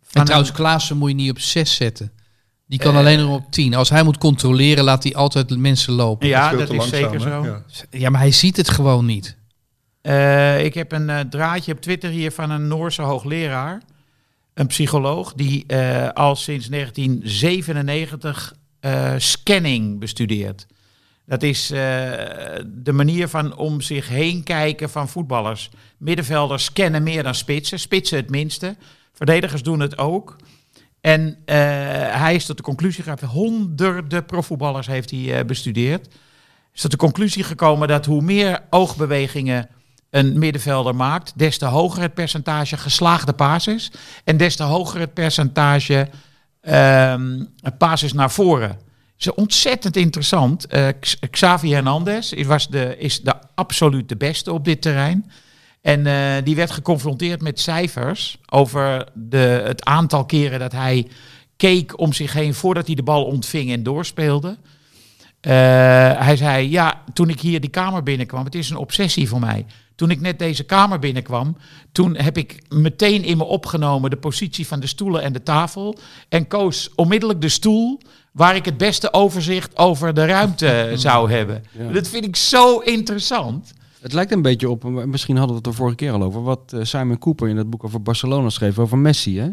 [SPEAKER 3] En
[SPEAKER 2] Van
[SPEAKER 3] trouwens, Klaassen moet je niet op 6 zetten. Die kan alleen nog op 10. Als hij moet controleren, laat hij altijd mensen lopen.
[SPEAKER 2] een- ja,
[SPEAKER 5] speelt
[SPEAKER 2] dat
[SPEAKER 5] te
[SPEAKER 2] is
[SPEAKER 5] langzaam,
[SPEAKER 2] zeker
[SPEAKER 5] hè?
[SPEAKER 2] zo.
[SPEAKER 5] Ja.
[SPEAKER 3] Ja, maar hij ziet het gewoon niet.
[SPEAKER 2] Eh, ik heb een eh, draadje op Twitter hier van een Noorse hoogleraar. Een psycholoog die eh, al sinds 1997 eh, scanning bestudeert. Dat is eh, de manier van om zich heen kijken van voetballers. Middenvelders scannen meer dan spitsen. Spitsen het minste. Verdedigers doen het ook. En eh, hij is tot de conclusie gekomen, honderden profvoetballers heeft hij eh, bestudeerd. Is tot de conclusie gekomen dat hoe meer oogbewegingen een middenvelder maakt, des te hoger het percentage geslaagde passes en des te hoger het percentage ehm passes naar voren. Ze ontzettend interessant. Eh, X- Xavi Hernandez is, was de, is de absoluut de beste op dit terrein. En eh, die werd geconfronteerd met cijfers over de, het aantal keren dat hij keek om zich heen voordat hij de bal ontving en doorspeelde. Eh, hij zei, ja, toen ik hier die kamer binnenkwam, het is een obsessie voor mij. Toen ik net deze kamer binnenkwam, toen heb ik meteen in me opgenomen de positie van de stoelen en de tafel. En koos onmiddellijk de stoel waar ik het beste overzicht over de [laughs] ruimte zou hebben.
[SPEAKER 1] Ja.
[SPEAKER 2] Dat vind ik zo interessant.
[SPEAKER 1] Het lijkt een beetje op, misschien hadden we het er vorige keer al over, wat eh, Simon Cooper in dat boek over Barcelona schreef, over Messi. Hè?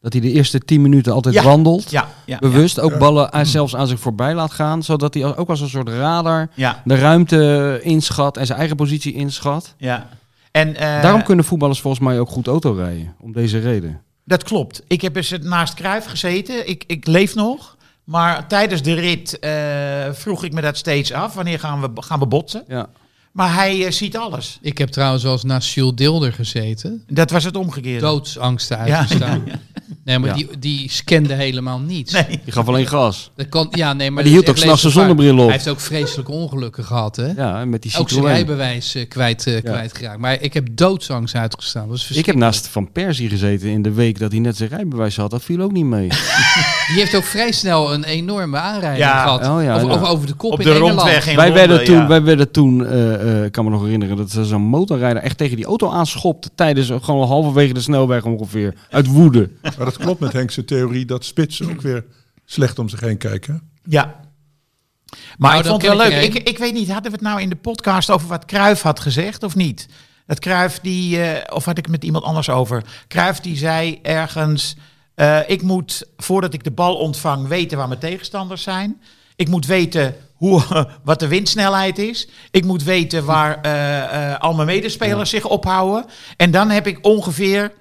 [SPEAKER 1] Dat hij de eerste tien minuten altijd
[SPEAKER 2] Ja.
[SPEAKER 1] wandelt,
[SPEAKER 2] Ja, ja, ja,
[SPEAKER 1] bewust, ook ballen aan- zelfs aan zich voorbij laat gaan, zodat hij als- ook als een soort radar
[SPEAKER 2] ja,
[SPEAKER 1] de ruimte inschat en zijn eigen positie inschat.
[SPEAKER 2] ja. En, eh,
[SPEAKER 1] Daarom kunnen voetballers volgens mij ook goed autorijden, om deze reden.
[SPEAKER 2] Dat klopt. Ik heb eens naast Kruif gezeten. Ik, ik leef nog. Maar tijdens de rit eh, vroeg ik me dat steeds af. Wanneer gaan we, gaan we botsen?
[SPEAKER 1] Ja.
[SPEAKER 2] Maar hij eh, ziet alles.
[SPEAKER 3] Ik heb trouwens wel eens naast Jules Dilder gezeten.
[SPEAKER 2] Dat was het omgekeerde.
[SPEAKER 3] Doodsangsten
[SPEAKER 2] Ja.
[SPEAKER 3] uitgestaan. Nee, maar
[SPEAKER 1] Ja.
[SPEAKER 3] die, die scande helemaal niets.
[SPEAKER 2] Nee.
[SPEAKER 1] Die gaf alleen gas.
[SPEAKER 3] Dat kan, ja, nee, maar,
[SPEAKER 1] die hield
[SPEAKER 3] dat is
[SPEAKER 1] ook
[SPEAKER 3] echt
[SPEAKER 1] s'nachts zijn
[SPEAKER 3] levensgevaar.
[SPEAKER 1] zonnebril op.
[SPEAKER 3] Hij heeft ook vreselijke ongelukken gehad, hè?
[SPEAKER 1] Ja, met die
[SPEAKER 3] ook zijn
[SPEAKER 1] Citroën.
[SPEAKER 3] rijbewijs eh, kwijt, eh, kwijtgeraakt. Maar ik heb doodsangst uitgestaan. Dat was
[SPEAKER 1] Ik heb naast Van Persie gezeten in de week dat hij net zijn rijbewijs had. Dat viel ook niet mee.
[SPEAKER 3] Die heeft ook vrij snel een enorme aanrijding
[SPEAKER 2] Ja.
[SPEAKER 3] gehad.
[SPEAKER 1] Oh, ja,
[SPEAKER 3] over,
[SPEAKER 1] ja.
[SPEAKER 3] over, over de kop
[SPEAKER 2] Op
[SPEAKER 3] in
[SPEAKER 2] de
[SPEAKER 3] Engeland.
[SPEAKER 2] rondweg in
[SPEAKER 1] Wij
[SPEAKER 2] Londen,
[SPEAKER 1] werden toen,
[SPEAKER 2] ja.
[SPEAKER 1] wij werden toen eh, eh, ik kan me nog herinneren, dat ze zo'n motorrijder echt tegen die auto aanschopte tijdens eh, gewoon halverwege de snelweg ongeveer. Uit woede.
[SPEAKER 5] Maar dat klopt met Henk's theorie dat spitsen ook weer slecht om zich heen kijken.
[SPEAKER 2] Ja. Maar
[SPEAKER 3] Nou,
[SPEAKER 2] ik
[SPEAKER 3] dan
[SPEAKER 2] vond
[SPEAKER 3] ken
[SPEAKER 2] het wel
[SPEAKER 3] ik
[SPEAKER 2] leuk.
[SPEAKER 3] er
[SPEAKER 2] Ik,
[SPEAKER 3] een.
[SPEAKER 2] ik weet niet, hadden we het nou in de podcast over wat Kruif had gezegd of niet? Dat Kruif die, eh, of had ik het met iemand anders over? Kruif die zei ergens: eh, Ik moet voordat ik de bal ontvang weten waar mijn tegenstanders zijn. Ik moet weten hoe, [laughs] wat de windsnelheid is. Ik moet weten waar eh, eh, al mijn medespelers zich ophouden. En dan heb ik ongeveer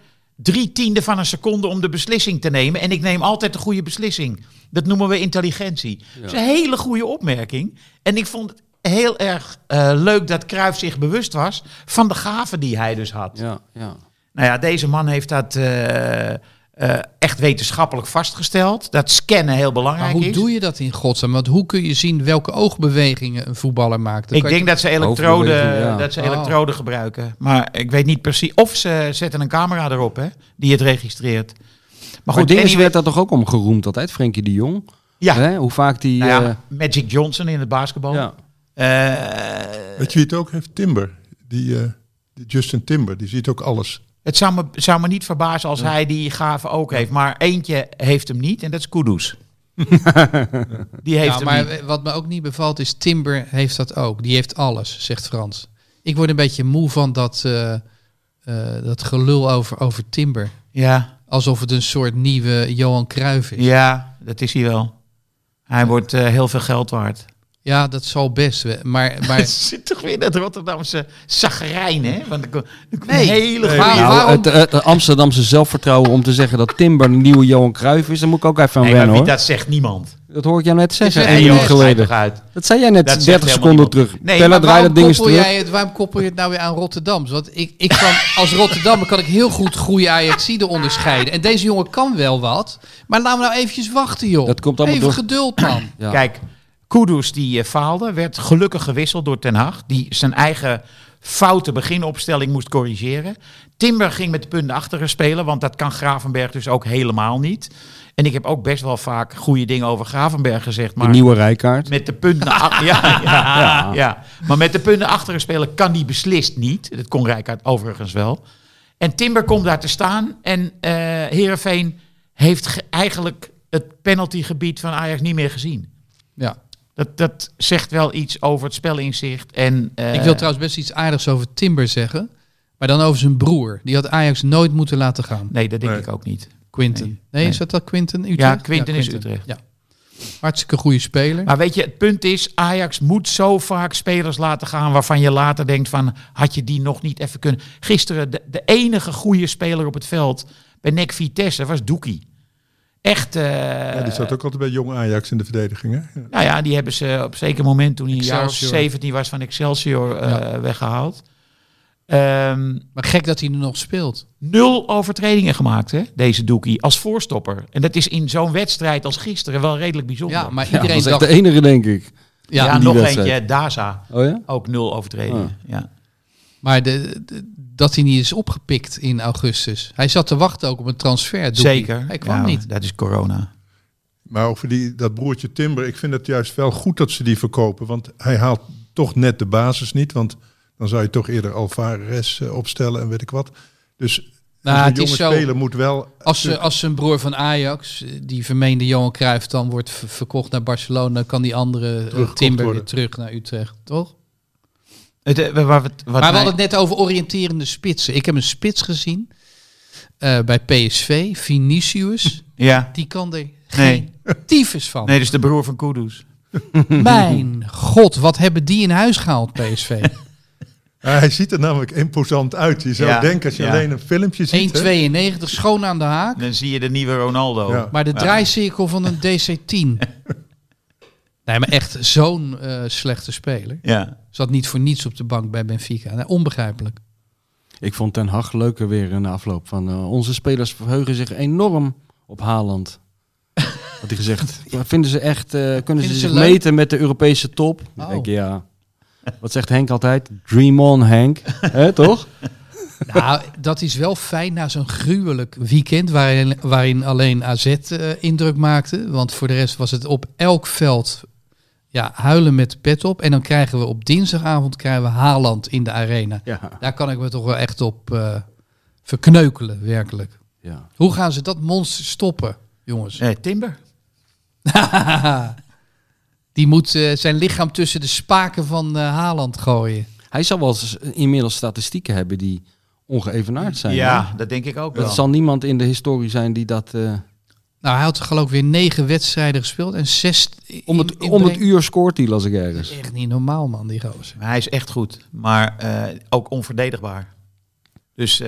[SPEAKER 2] drie tiende van een seconde om de beslissing te nemen. En ik neem altijd de goede beslissing. Dat noemen we intelligentie. Dat is een hele goede opmerking. En ik vond het heel erg eh, leuk dat Cruijff zich bewust was van de gaven die hij dus had.
[SPEAKER 1] Ja, ja.
[SPEAKER 2] Nou ja, deze man heeft dat eh, eh, echt wetenschappelijk vastgesteld. Dat scannen heel
[SPEAKER 3] Maar
[SPEAKER 2] belangrijk
[SPEAKER 3] hoe
[SPEAKER 2] is.
[SPEAKER 3] doe je dat in godsnaam? Want hoe kun je zien welke oogbewegingen een voetballer maakt? Dat
[SPEAKER 2] ik
[SPEAKER 3] kan
[SPEAKER 2] denk dat ze elektroden,
[SPEAKER 1] Overbeweging, ja.
[SPEAKER 2] dat ze
[SPEAKER 3] Oh.
[SPEAKER 2] elektroden gebruiken. Maar ik weet niet precies. Of ze zetten een camera erop hè, die het registreert. Maar
[SPEAKER 1] Maar
[SPEAKER 2] goed,
[SPEAKER 1] goed, Dinges
[SPEAKER 2] anyway-
[SPEAKER 1] werd daar toch ook om geroemd altijd, Frenkie de Jong.
[SPEAKER 2] Ja.
[SPEAKER 1] Hè? Hoe vaak die...
[SPEAKER 2] Nou ja,
[SPEAKER 1] eh,
[SPEAKER 2] Magic Johnson in het basketbal.
[SPEAKER 1] ja.
[SPEAKER 2] Eh,
[SPEAKER 5] Weet je wie het ook heeft? Timber. Die, eh, die Justin Timber, die ziet ook alles.
[SPEAKER 2] het zou me, zou me niet verbazen als hij die gave ook heeft. Maar eentje heeft hem niet en dat
[SPEAKER 1] [laughs]
[SPEAKER 2] is Kudus. die heeft
[SPEAKER 3] Ja,
[SPEAKER 2] hem
[SPEAKER 3] Nou, maar
[SPEAKER 2] niet.
[SPEAKER 3] wat me ook niet bevalt is Timber heeft dat ook. Die heeft alles, zegt Frans. Ik word een beetje moe van dat, eh, eh, dat gelul over, over Timber.
[SPEAKER 2] Ja,
[SPEAKER 3] Alsof het een soort nieuwe Johan Cruijff is. Ja,
[SPEAKER 2] ja, dat is hij wel. Hij wordt eh, heel veel geld
[SPEAKER 1] [laughs]
[SPEAKER 2] waard.
[SPEAKER 3] dat zal best. we- Maar,
[SPEAKER 2] [laughs]
[SPEAKER 3] maar
[SPEAKER 2] Het zit toch weer dat Rotterdamse zagrijn, hè? Want ik, ik
[SPEAKER 3] Nee.
[SPEAKER 2] een hele
[SPEAKER 5] Nee.
[SPEAKER 3] Waar-
[SPEAKER 2] goeie-
[SPEAKER 1] Nou,
[SPEAKER 3] waarom-
[SPEAKER 1] het, het Amsterdamse zelfvertrouwen om te zeggen dat Timber een nieuwe Johan Cruijff is, daar moet ik ook even aan
[SPEAKER 2] Nee, maar
[SPEAKER 1] wennen
[SPEAKER 2] wie
[SPEAKER 1] hoor.
[SPEAKER 2] dat zegt niemand.
[SPEAKER 1] Dat hoor ik jou net zeggen,
[SPEAKER 3] Nee,
[SPEAKER 1] één
[SPEAKER 3] joh,
[SPEAKER 1] minuut
[SPEAKER 2] jongens, ga je
[SPEAKER 1] geleden.
[SPEAKER 2] toch uit.
[SPEAKER 1] Dat zei jij net
[SPEAKER 2] Dat zegt
[SPEAKER 1] 30
[SPEAKER 2] helemaal
[SPEAKER 1] seconden
[SPEAKER 2] niemand.
[SPEAKER 1] terug.
[SPEAKER 2] Nee,
[SPEAKER 1] Teller,
[SPEAKER 2] maar
[SPEAKER 1] draai dat ding eens
[SPEAKER 3] koppel
[SPEAKER 1] terug.
[SPEAKER 3] jij het, waarom koppel je het nou weer aan Rotterdams? Want ik, ik kan, als Rotterdammer kan ik heel goed goede Ajaxide onderscheiden. En deze jongen kan wel wat. Maar laten we nou eventjes wachten, joh.
[SPEAKER 1] Dat komt allemaal
[SPEAKER 3] Even
[SPEAKER 1] door-
[SPEAKER 3] geduld, man.
[SPEAKER 1] [clears throat] Ja.
[SPEAKER 2] Kijk, Kudus die eh, faalde, werd gelukkig gewisseld door Ten Hag. Die zijn eigen foute beginopstelling moest corrigeren. Timber ging met de punten achteren spelen, want dat kan Gravenberg dus ook helemaal niet. En ik heb ook best wel vaak goede dingen over Gravenberg gezegd.
[SPEAKER 1] De
[SPEAKER 2] Maar
[SPEAKER 1] nieuwe rijkaart.
[SPEAKER 2] met de punten
[SPEAKER 1] [laughs]
[SPEAKER 2] achter, ja, ja, ja. Maar met de punten achteren spelen kan die beslist niet. Dat kon Rijkaard overigens wel. En Timber komt daar te staan. En eh Heerenveen heeft ge- eigenlijk het penaltygebied van Ajax niet meer gezien.
[SPEAKER 3] Ja.
[SPEAKER 2] Dat, dat zegt wel iets over het spelinzicht. En, eh,
[SPEAKER 3] Ik wil trouwens best iets aardigs over Timber zeggen. Maar dan over zijn broer. Die had Ajax nooit moeten laten gaan.
[SPEAKER 2] Nee, dat denk
[SPEAKER 5] Nee.
[SPEAKER 2] ik ook niet.
[SPEAKER 3] Quinten. Nee,
[SPEAKER 2] Nee. Nee.
[SPEAKER 3] is dat dat Quinten? Utrecht?
[SPEAKER 2] Ja, Quinten is Utrecht.
[SPEAKER 3] Ja. Hartstikke goede speler.
[SPEAKER 1] Ah.
[SPEAKER 2] Maar weet je, het punt is, Ajax moet zo vaak spelers laten gaan waarvan je later denkt van, had je die nog niet even kunnen. Gisteren, de, de enige goede speler op het veld bij NEC Vitesse was Doekie. Echt, eh,
[SPEAKER 5] Ja, die zat ook altijd bij jong Ajax in de verdediging. Hè? Ja.
[SPEAKER 2] nou ja, die hebben ze op een zeker moment toen hij een jaar of
[SPEAKER 3] Excelsior.
[SPEAKER 2] 17 was van Excelsior eh,
[SPEAKER 3] Ja.
[SPEAKER 2] weggehaald. Ehm,
[SPEAKER 3] Maar gek dat hij nu nog speelt.
[SPEAKER 2] nul overtredingen gemaakt, hè, deze Doekie, als voorstopper. En dat is in zo'n wedstrijd als gisteren wel redelijk bijzonder.
[SPEAKER 3] Ja, maar
[SPEAKER 1] Ja, dat
[SPEAKER 3] iedereen
[SPEAKER 1] was echt
[SPEAKER 3] dacht...
[SPEAKER 1] de enige, denk ik.
[SPEAKER 2] ja,
[SPEAKER 3] ja,
[SPEAKER 1] die
[SPEAKER 2] nog
[SPEAKER 1] wedstrijd.
[SPEAKER 2] eentje, Daza.
[SPEAKER 1] Oh ja?
[SPEAKER 2] Ook nul overtredingen.
[SPEAKER 1] Ah.
[SPEAKER 2] Ja.
[SPEAKER 3] Maar de, de- dat hij niet is opgepikt in augustus. Hij zat te wachten ook op een transfer. Doekie.
[SPEAKER 2] Zeker.
[SPEAKER 3] Hij kwam
[SPEAKER 2] Ja,
[SPEAKER 3] niet.
[SPEAKER 2] Dat is corona.
[SPEAKER 5] Maar over die, dat broertje Timber, ik vind het juist wel goed dat ze die verkopen. Want hij haalt toch net de basis niet. Want Dan zou je toch eerder Alvarez eh, opstellen en weet ik wat. Dus
[SPEAKER 3] Nou,
[SPEAKER 5] dus een
[SPEAKER 3] het
[SPEAKER 5] jonge
[SPEAKER 3] is zo-
[SPEAKER 5] speler moet wel...
[SPEAKER 3] Als, ze, als zijn broer van Ajax, eh, die vermeende Johan Cruijff, dan wordt ver- verkocht naar Barcelona, dan kan die andere eh,
[SPEAKER 5] Teruggekocht
[SPEAKER 3] Timber
[SPEAKER 5] worden.
[SPEAKER 3] weer terug naar Utrecht, toch?
[SPEAKER 2] Het, eh, waar we het- wat
[SPEAKER 3] maar we
[SPEAKER 2] mij-
[SPEAKER 3] hadden het net over oriënterende spitsen. Ik heb een spits gezien eh, bij PSV,
[SPEAKER 5] [laughs]
[SPEAKER 3] Vinicius.
[SPEAKER 2] Ja,
[SPEAKER 3] Die kan er
[SPEAKER 2] nee.
[SPEAKER 3] geen tyfus van.
[SPEAKER 2] Nee, dus de broer van Kudus.
[SPEAKER 3] Mijn god, wat hebben die in huis gehaald,
[SPEAKER 5] [laughs]
[SPEAKER 3] PSV?
[SPEAKER 5] Ja, hij ziet er namelijk imposant uit. Je zou
[SPEAKER 2] Ja,
[SPEAKER 5] denken, als je
[SPEAKER 2] ja.
[SPEAKER 5] alleen een filmpje ziet... hè,
[SPEAKER 3] 1,92, schoon aan de haak.
[SPEAKER 2] Dan zie je de nieuwe Ronaldo.
[SPEAKER 5] Ja.
[SPEAKER 3] Maar de draaicirkel van een DC-10. Nee, maar echt zo'n eh, slechte speler.
[SPEAKER 2] Ja.
[SPEAKER 3] Zat niet voor niets op de bank bij Benfica. Nee, onbegrijpelijk.
[SPEAKER 1] Ik vond Ten Hag leuker weer in de afloop van eh, onze spelers verheugen zich enorm op [laughs] Haaland. Had hij gezegd. Maar vinden ze echt, eh, kunnen ze,
[SPEAKER 3] ze
[SPEAKER 1] zich
[SPEAKER 3] leuk?
[SPEAKER 1] meten met de Europese top? Dan
[SPEAKER 3] Oh.
[SPEAKER 1] denk ik, ja. Wat zegt Henk altijd? Dream on, [laughs] Henk. Hè, toch?
[SPEAKER 3] Nou, dat is wel fijn na zo'n gruwelijk weekend waarin, waarin alleen AZ eh, indruk maakte. Want voor de rest was het op elk veld ja, huilen met de pet op. En dan krijgen we op dinsdagavond krijgen we Haaland in de arena.
[SPEAKER 1] Ja.
[SPEAKER 3] Daar kan ik me toch wel echt op eh, verkneukelen, werkelijk.
[SPEAKER 1] ja.
[SPEAKER 3] Hoe gaan ze dat monster stoppen, jongens?
[SPEAKER 2] Nee, Eh, Timber.
[SPEAKER 3] Die moet eh, zijn lichaam tussen de spaken van eh, Haaland gooien.
[SPEAKER 1] Hij zal wel eens inmiddels statistieken hebben die ongeëvenaard zijn.
[SPEAKER 2] Ja, dat denk ik ook
[SPEAKER 1] hè?
[SPEAKER 2] wel.
[SPEAKER 1] Er zal niemand in de historie zijn die dat... eh,
[SPEAKER 3] Nou, hij had geloof ik weer negen wedstrijden gespeeld en zes...
[SPEAKER 1] om, het,
[SPEAKER 3] in-
[SPEAKER 1] om het
[SPEAKER 3] inbreng.
[SPEAKER 1] uur scoort hij, las ik ergens.
[SPEAKER 3] Echt niet normaal, man, die gozer.
[SPEAKER 2] Maar Hij is echt goed, maar eh, ook onverdedigbaar. Dus eh,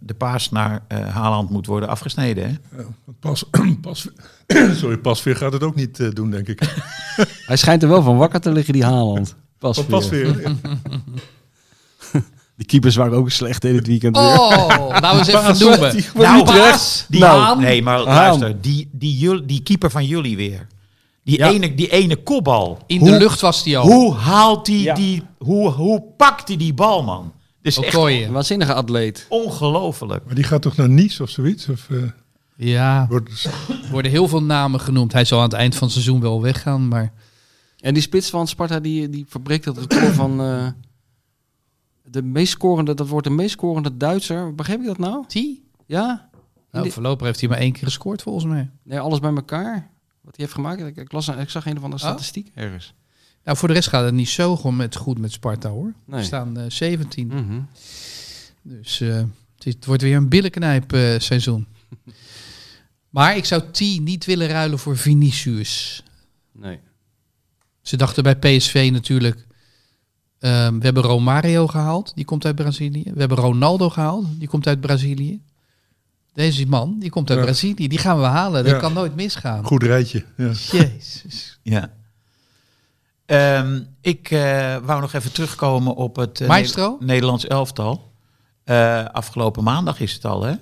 [SPEAKER 2] de paas naar eh, Haaland moet worden afgesneden. Hè?
[SPEAKER 5] Pas, [clears throat] pas, [clears throat] sorry, Pasveer gaat het ook niet eh, doen, denk ik.
[SPEAKER 1] Hij schijnt er wel van wakker te liggen, die Haaland. Pas,
[SPEAKER 5] Van Pasveer.
[SPEAKER 1] De keepers waren ook slecht in het weekend weer. [laughs]
[SPEAKER 3] Oh, nou eens even noemen.
[SPEAKER 1] Nou,
[SPEAKER 3] Paas,
[SPEAKER 2] die
[SPEAKER 1] Nou,
[SPEAKER 3] Haan.
[SPEAKER 2] Nee, maar
[SPEAKER 1] Haan.
[SPEAKER 2] luister, die, die, jul- die keeper van jullie weer. Die,
[SPEAKER 1] Ja.
[SPEAKER 2] ene, die ene kopbal.
[SPEAKER 3] In de lucht was die al.
[SPEAKER 2] Hoe haalt hij
[SPEAKER 1] Ja.
[SPEAKER 2] die, hoe, hoe pakt hij die bal, man? Dus echt
[SPEAKER 1] Een
[SPEAKER 3] Okoye.
[SPEAKER 1] waanzinnige atleet.
[SPEAKER 2] ongelooflijk.
[SPEAKER 5] Maar die gaat toch naar Nice of zoiets? Of, eh,
[SPEAKER 3] Ja,
[SPEAKER 5] wordt,
[SPEAKER 3] worden heel veel namen genoemd. Hij zal aan het eind van het seizoen wel weggaan, maar...
[SPEAKER 1] En die spits van Sparta, die, die verbreekt dat record van... eh, de meest scorende, dat wordt de meest scorende Duitser. Begreep ik dat nou?
[SPEAKER 3] Die?
[SPEAKER 1] Ja?
[SPEAKER 3] Nou, voorlopig heeft hij maar één keer gescoord, volgens mij.
[SPEAKER 1] Nee, alles bij elkaar. Wat hij heeft gemaakt. Ik, ik, las, ik zag een of andere statistiek ergens.
[SPEAKER 3] Nou, voor de rest gaat het niet zo gewoon met, goed met Sparta, hoor.
[SPEAKER 1] Nee.
[SPEAKER 3] We staan eh, 17.
[SPEAKER 1] Mhm.
[SPEAKER 3] Dus eh, het, is- het wordt weer een billenknijp eh,
[SPEAKER 5] [laughs]
[SPEAKER 3] seizoen. Maar ik zou T niet willen ruilen voor Vinicius.
[SPEAKER 1] Nee.
[SPEAKER 3] Ze dachten bij PSV natuurlijk... ehm, we hebben Romario gehaald, die komt uit Brazilië. We hebben Ronaldo gehaald, die komt uit Brazilië. Deze man, die komt uit
[SPEAKER 5] Ja.
[SPEAKER 3] Brazilië. Die gaan we halen, dat
[SPEAKER 5] Ja.
[SPEAKER 3] kan nooit misgaan.
[SPEAKER 5] goed rijtje. Ja.
[SPEAKER 3] Jezus.
[SPEAKER 2] Ja. Ehm, ik eh, wou nog even terugkomen op het
[SPEAKER 3] [laughs]
[SPEAKER 2] eh,
[SPEAKER 3] Maestro?
[SPEAKER 2] Ne- Nederlands elftal. Eh, afgelopen maandag is het al, hè?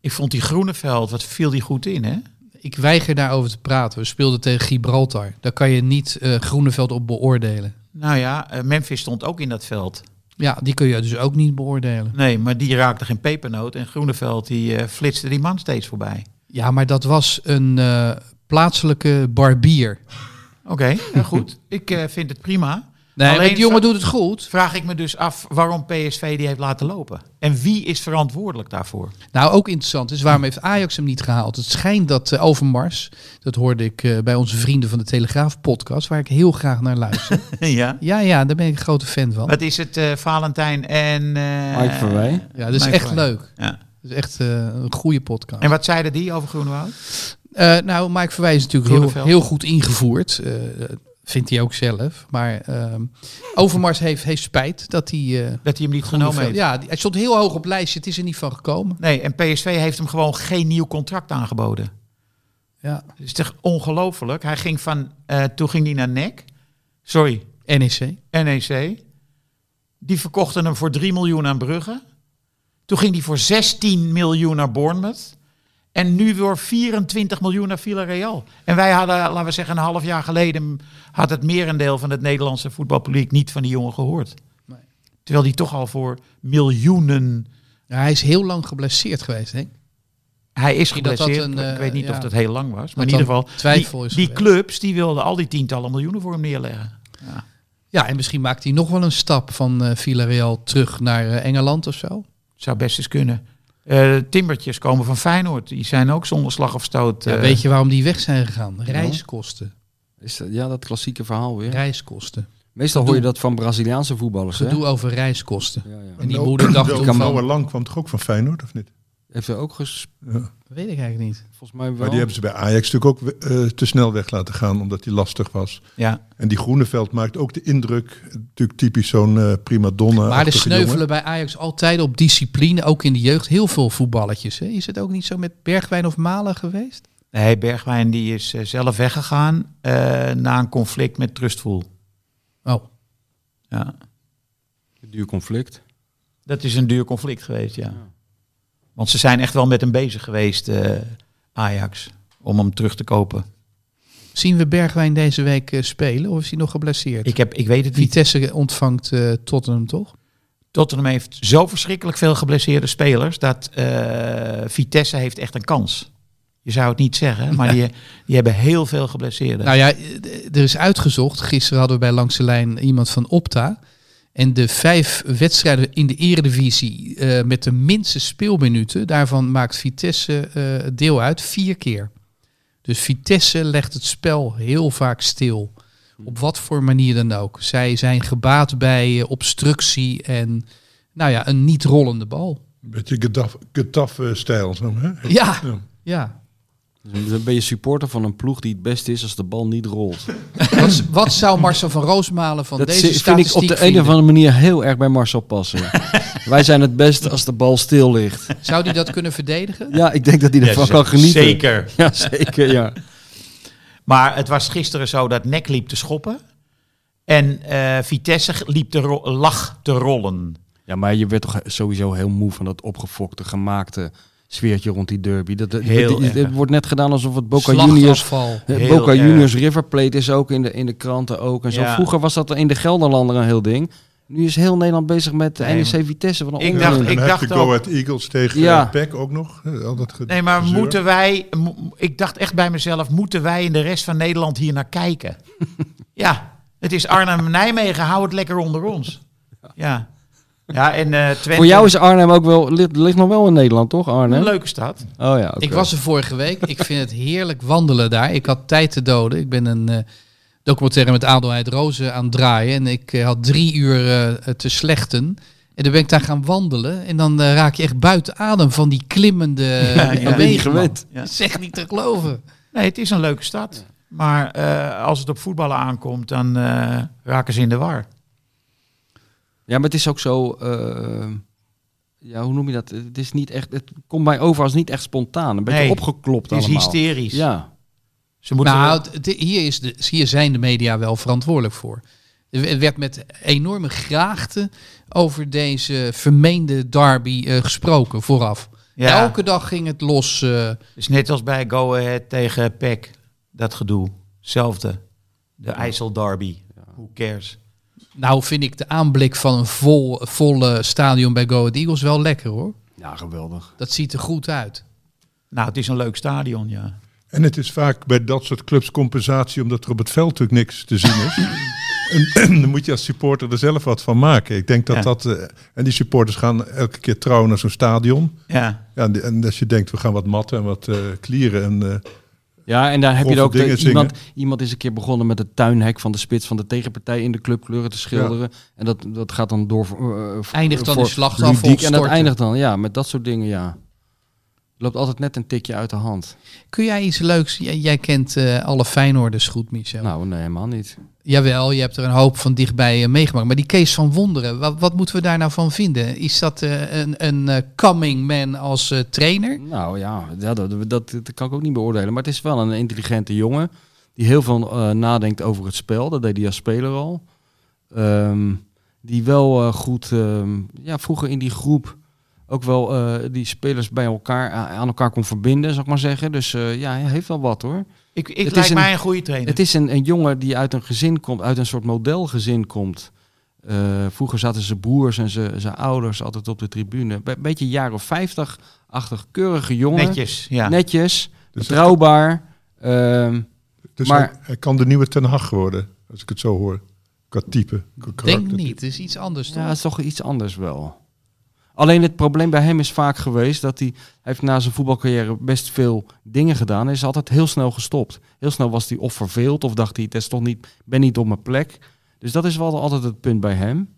[SPEAKER 2] Ik vond die Groeneveld, wat viel die goed in, hè?
[SPEAKER 3] Ik weiger daarover te praten. We speelden tegen Gibraltar. Daar kan je niet eh Groeneveld op beoordelen.
[SPEAKER 2] Nou ja, eh, Memphis stond ook in dat veld.
[SPEAKER 3] Ja, die kun je dus ook niet beoordelen.
[SPEAKER 2] Nee, maar die raakte geen pepernoot. En Groeneveld, die eh, flitste die man steeds voorbij.
[SPEAKER 3] Ja, maar dat was een eh, plaatselijke barbier.
[SPEAKER 2] Oké, nou goed. Ik eh, vind het prima.
[SPEAKER 3] Nee,
[SPEAKER 2] Alleen
[SPEAKER 3] maar die jongen
[SPEAKER 2] zo-
[SPEAKER 3] doet het goed.
[SPEAKER 2] Vraag ik me dus af waarom PSV die heeft laten lopen. En wie is verantwoordelijk daarvoor?
[SPEAKER 3] Nou, ook interessant is, waarom heeft Ajax hem niet gehaald? Het schijnt dat eh, Overmars, dat hoorde ik eh, bij onze vrienden van de Telegraaf podcast, waar ik heel graag naar
[SPEAKER 2] [laughs]
[SPEAKER 3] luister.
[SPEAKER 2] [laughs] ja.
[SPEAKER 3] ja, ja, daar ben ik een grote fan van.
[SPEAKER 2] Wat is het, eh, Valentijn en... eh
[SPEAKER 1] Mike Verwij.
[SPEAKER 3] Ja, dat is
[SPEAKER 2] Mike
[SPEAKER 3] echt
[SPEAKER 2] Verwij.
[SPEAKER 3] leuk.
[SPEAKER 2] Ja.
[SPEAKER 3] Dat is echt eh, een goede podcast.
[SPEAKER 2] En wat zeiden die over Groenewald?
[SPEAKER 3] Eh, nou, Mike Verwij is natuurlijk heel,
[SPEAKER 2] Groeneveld.
[SPEAKER 3] heel goed ingevoerd. Eh, vindt hij ook zelf. Maar ehm, Overmars heeft, heeft spijt dat hij... eh,
[SPEAKER 2] Dat hij hem niet genomen heeft?
[SPEAKER 3] ja, die- hij stond heel hoog op lijstje. Het is er niet van gekomen.
[SPEAKER 2] Nee, en PSV heeft hem gewoon geen nieuw contract aangeboden.
[SPEAKER 3] Ja.
[SPEAKER 2] Dat is toch ongelooflijk? Hij ging van... eh, toen ging hij naar NEC. Sorry,
[SPEAKER 3] NEC.
[SPEAKER 2] NEC. E Die verkochten hem voor 3 miljoen aan Brugge. Toen ging hij voor 16 miljoen naar Bournemouth. En nu weer 24 miljoen naar Villarreal. En wij hadden, laten we zeggen, een half jaar geleden... had het merendeel van het Nederlandse voetbalpubliek niet van die jongen gehoord.
[SPEAKER 3] Nee.
[SPEAKER 2] Terwijl die toch al voor miljoenen...
[SPEAKER 3] Ja, hij is heel lang geblesseerd geweest, hè?
[SPEAKER 2] Hij is
[SPEAKER 3] Misschien dat dat
[SPEAKER 2] geblesseerd.
[SPEAKER 3] een, eh,
[SPEAKER 2] ik weet niet
[SPEAKER 3] ja.
[SPEAKER 2] of dat heel lang was. Maar
[SPEAKER 3] Dat
[SPEAKER 2] in ieder
[SPEAKER 3] dan
[SPEAKER 2] geval,
[SPEAKER 3] twijfel
[SPEAKER 2] die,
[SPEAKER 3] is
[SPEAKER 2] die
[SPEAKER 3] geweest.
[SPEAKER 2] clubs die wilden al die tientallen miljoenen voor hem neerleggen.
[SPEAKER 3] Ja, en misschien maakt hij nog wel een stap van eh, Villarreal terug naar eh, Engeland of zo.
[SPEAKER 2] Zou best eens kunnen. Eh, timbertjes komen van Feyenoord. Die zijn ook zonder slag of stoot.
[SPEAKER 3] Ja,
[SPEAKER 2] eh,
[SPEAKER 3] weet je waarom die weg zijn gegaan? Reiskosten.
[SPEAKER 1] Is dat, ja, dat klassieke verhaal weer.
[SPEAKER 3] Reiskosten.
[SPEAKER 1] Meestal hoor je dat van Braziliaanse voetballers. hè?
[SPEAKER 3] Gedoe over reiskosten.
[SPEAKER 1] Ja, ja.
[SPEAKER 3] En die moeder dacht toen
[SPEAKER 1] kan
[SPEAKER 3] van,
[SPEAKER 1] wel-
[SPEAKER 5] Noah Lang kwam toch ook van Feyenoord, of niet?
[SPEAKER 1] Heeft hij ook ges...
[SPEAKER 3] weet ik eigenlijk niet.
[SPEAKER 2] Oh,
[SPEAKER 1] Volgens mij wel.
[SPEAKER 5] Maar die hebben ze bij Ajax natuurlijk ook eh, te snel weg laten gaan, omdat die lastig was.
[SPEAKER 2] ja.
[SPEAKER 5] En die Groeneveld maakt ook de indruk, natuurlijk typisch zo'n eh prima donna.
[SPEAKER 3] Maar er sneuvelen bij Ajax altijd op discipline, ook in de jeugd. Heel veel voetballetjes. Hè? Is het ook niet zo met Bergwijn of Malen geweest?
[SPEAKER 2] Nee, Bergwijn die is eh, zelf weggegaan eh, na een conflict met Trustful.
[SPEAKER 3] Oh,
[SPEAKER 2] Ja.
[SPEAKER 1] Duur conflict.
[SPEAKER 2] Dat is een duur conflict geweest, ja. Want ze zijn echt wel met hem bezig geweest, eh, Ajax, om hem terug te kopen.
[SPEAKER 3] zien we Bergwijn deze week eh, spelen of is hij nog geblesseerd?
[SPEAKER 2] Ik, heb, ik weet het niet.
[SPEAKER 3] Vitesse ontvangt eh, Tottenham toch?
[SPEAKER 2] Tottenham heeft zo verschrikkelijk veel geblesseerde spelers dat eh, Vitesse heeft echt een kans. Je zou het niet zeggen, maar die, die hebben heel veel geblesseerden.
[SPEAKER 3] Nou ja, eh, er is uitgezocht. Gisteren hadden we bij Langs de Lijn iemand van Opta. En de vijf wedstrijden in de eredivisie eh, met de minste speelminuten, daarvan maakt Vitesse eh, deel uit vier keer. Dus Vitesse legt het spel heel vaak stil. Op wat voor manier dan ook. Zij zijn gebaat bij eh, obstructie en nou ja, een niet rollende bal.
[SPEAKER 5] Een beetje Getafe- Getafe-stijl. zo, hè?
[SPEAKER 3] Ja,
[SPEAKER 5] Ja.
[SPEAKER 3] ja.
[SPEAKER 1] Dus dan ben je supporter van een ploeg die het beste is als de bal niet rolt.
[SPEAKER 3] Wat, wat zou Marcel van Roosmalen van
[SPEAKER 1] dat
[SPEAKER 3] deze
[SPEAKER 1] zi- vind
[SPEAKER 3] statistiek
[SPEAKER 1] ik op de een
[SPEAKER 3] vinden?
[SPEAKER 1] of andere manier heel erg bij Marcel
[SPEAKER 3] [laughs]
[SPEAKER 1] passen. Wij zijn het beste als de bal stil ligt.
[SPEAKER 3] Zou die dat kunnen verdedigen?
[SPEAKER 1] Ja, ik denk dat hij ervan kan genieten. [laughs]
[SPEAKER 2] Zeker.
[SPEAKER 1] Ja, zeker, ja.
[SPEAKER 2] Maar het was gisteren zo dat Nek liep te schoppen. En eh, Vitesse liep te ro- lag te rollen.
[SPEAKER 1] Ja, maar je werd toch sowieso heel moe van dat opgefokte, gemaakte sfeertje rond die derby. Dat, dat-
[SPEAKER 2] Heel
[SPEAKER 1] het- het,
[SPEAKER 2] erg.
[SPEAKER 1] wordt net gedaan alsof het Boca Juniors...
[SPEAKER 3] Slagafval.
[SPEAKER 1] eh,
[SPEAKER 2] Heel
[SPEAKER 1] Boca
[SPEAKER 2] erg.
[SPEAKER 1] Juniors River Plate is ook in de, in de kranten ook. En zo.
[SPEAKER 2] Ja.
[SPEAKER 1] Vroeger was dat in de Gelderlander een heel ding. Nu is heel Nederland bezig met de
[SPEAKER 2] Nee,
[SPEAKER 1] NEC Vitesse. Van een
[SPEAKER 2] ik
[SPEAKER 1] onzin.
[SPEAKER 2] dacht-
[SPEAKER 5] en dan
[SPEAKER 2] ik
[SPEAKER 5] heb
[SPEAKER 2] dacht
[SPEAKER 5] je
[SPEAKER 2] ook-
[SPEAKER 5] Go Ahead Eagles tegen
[SPEAKER 1] Ja.
[SPEAKER 5] eh, PEC ook nog. eh, Al dat ge-
[SPEAKER 2] Nee, maar
[SPEAKER 5] gezeur.
[SPEAKER 2] moeten wij... mo- ik dacht echt bij mezelf, moeten wij in de rest van Nederland hier naar
[SPEAKER 1] [laughs]
[SPEAKER 2] kijken? ja, het is Arnhem-Nijmegen, hou het lekker onder ons. Ja, ja en eh Twente...
[SPEAKER 1] Voor jou is Arnhem ook wel... Ligt, ligt nog wel in Nederland, toch Arnhem?
[SPEAKER 2] een leuke stad.
[SPEAKER 1] Oh ja, oké.
[SPEAKER 3] Ik was er vorige week. Ik vind het heerlijk wandelen daar. Ik had tijd te doden. Ik ben een eh, documentaire met Adelheid Rozen aan het draaien. En ik eh, had drie uur eh, te slechten. En dan ben ik daar gaan wandelen. En dan eh, raak je echt buiten adem van die
[SPEAKER 1] [laughs]
[SPEAKER 3] klimmende
[SPEAKER 2] ja.
[SPEAKER 3] eh,
[SPEAKER 1] Ik ben niet
[SPEAKER 3] beweging. man.
[SPEAKER 1] gewend.
[SPEAKER 2] Ja.
[SPEAKER 3] Dat is echt niet te geloven.
[SPEAKER 2] Nee, het is een leuke stad. Maar eh, als het op voetballen aankomt, dan eh, raken ze in de war.
[SPEAKER 1] Ja, maar het is ook zo. eh, ja, hoe noem je dat? Het is niet echt. Het komt mij over als niet echt spontaan. Een beetje
[SPEAKER 2] Nee,
[SPEAKER 1] opgeklopt
[SPEAKER 2] Het is
[SPEAKER 1] allemaal.
[SPEAKER 2] hysterisch.
[SPEAKER 1] Ja.
[SPEAKER 2] Ze moeten
[SPEAKER 3] nou, het- het- hier, is de, hier zijn de media wel verantwoordelijk voor. Er werd met enorme graagte over deze vermeende derby eh, gesproken vooraf.
[SPEAKER 2] Ja.
[SPEAKER 3] Elke dag ging het los. eh,
[SPEAKER 2] Dus net als bij Go Ahead tegen PEC. Dat gedoe. Hetzelfde. De IJssel Derby. Who cares?
[SPEAKER 3] nou vind ik de aanblik van een vol, volle stadion bij Go Ahead Eagles wel lekker hoor.
[SPEAKER 1] ja, geweldig.
[SPEAKER 3] Dat ziet er goed uit.
[SPEAKER 2] Nou, het is een leuk stadion, ja.
[SPEAKER 5] En het is vaak bij dat soort clubs compensatie, omdat er op het veld natuurlijk niks te zien [laughs] is. en, [clears throat] dan moet je als supporter er zelf wat van maken. Ik denk dat
[SPEAKER 2] Ja.
[SPEAKER 5] dat. eh, en die supporters gaan elke keer trouwen naar zo'n stadion.
[SPEAKER 2] Ja,
[SPEAKER 5] Ja, en, die- en als je denkt, we gaan wat matten en wat eh, klieren. En, eh,
[SPEAKER 1] Ja, en daar heb je
[SPEAKER 5] Grove
[SPEAKER 1] er ook de-
[SPEAKER 5] dingen zingen.
[SPEAKER 1] iemand, iemand is een keer begonnen met het tuinhek van de spits van de tegenpartij in de clubkleuren te schilderen. En dat, dat gaat dan door. voor- eh, voor-
[SPEAKER 3] Eindigt dan
[SPEAKER 1] voor
[SPEAKER 3] in slachtafval
[SPEAKER 1] ludiek. En dat
[SPEAKER 3] storten.
[SPEAKER 1] eindigt dan, ja, met dat soort dingen, ja. Loopt altijd net een tikje uit de hand.
[SPEAKER 3] Kun jij iets leuks? Jij, jij kent eh, alle Feyenoorders goed, Michel.
[SPEAKER 1] Nou, nee, helemaal niet.
[SPEAKER 3] Jawel, je hebt er een hoop van dichtbij eh, meegemaakt. Maar die Kees van Wonderen, wat, wat moeten we daar nou van vinden? Is dat eh, een, een eh, coming man als eh, trainer?
[SPEAKER 1] Nou ja, ja, dat, dat, dat kan ik ook niet beoordelen. Maar het is wel een intelligente jongen die heel veel eh, nadenkt over het spel. Dat deed hij als speler al. Ehm, die wel eh, goed, ehm, ja, vroeger in die groep ook wel eh, die spelers bij elkaar a- aan elkaar kon verbinden, zou ik maar zeggen. Dus eh, ja, hij heeft wel wat hoor.
[SPEAKER 2] ik,
[SPEAKER 1] Het
[SPEAKER 2] ik lijkt
[SPEAKER 1] is een-
[SPEAKER 2] mij een goede trainer.
[SPEAKER 1] Het is een, een jongen die uit een gezin komt, uit een soort modelgezin komt. Eh, vroeger zaten zijn broers en zijn zijn ouders altijd op de tribune. Be- beetje jaren 50-achtig, keurige jongen
[SPEAKER 2] Netjes, ja.
[SPEAKER 1] netjes,
[SPEAKER 5] Dus
[SPEAKER 1] betrouwbaar. ehm,
[SPEAKER 5] dus
[SPEAKER 1] Maar-
[SPEAKER 5] hij, hij kan de nieuwe Ten Hag worden, als ik het zo hoor. Qua type. qua
[SPEAKER 3] Denk
[SPEAKER 5] karaktertype.
[SPEAKER 3] niet, het is iets anders toch?
[SPEAKER 1] Ja, het is toch iets anders wel. Alleen het probleem bij hem is vaak geweest dat hij, hij heeft na zijn voetbalcarrière best veel dingen gedaan. Hij is altijd heel snel gestopt. Heel snel was hij of verveeld of dacht hij, het is toch niet, ben niet op mijn plek. Dus dat is wel altijd het punt bij hem.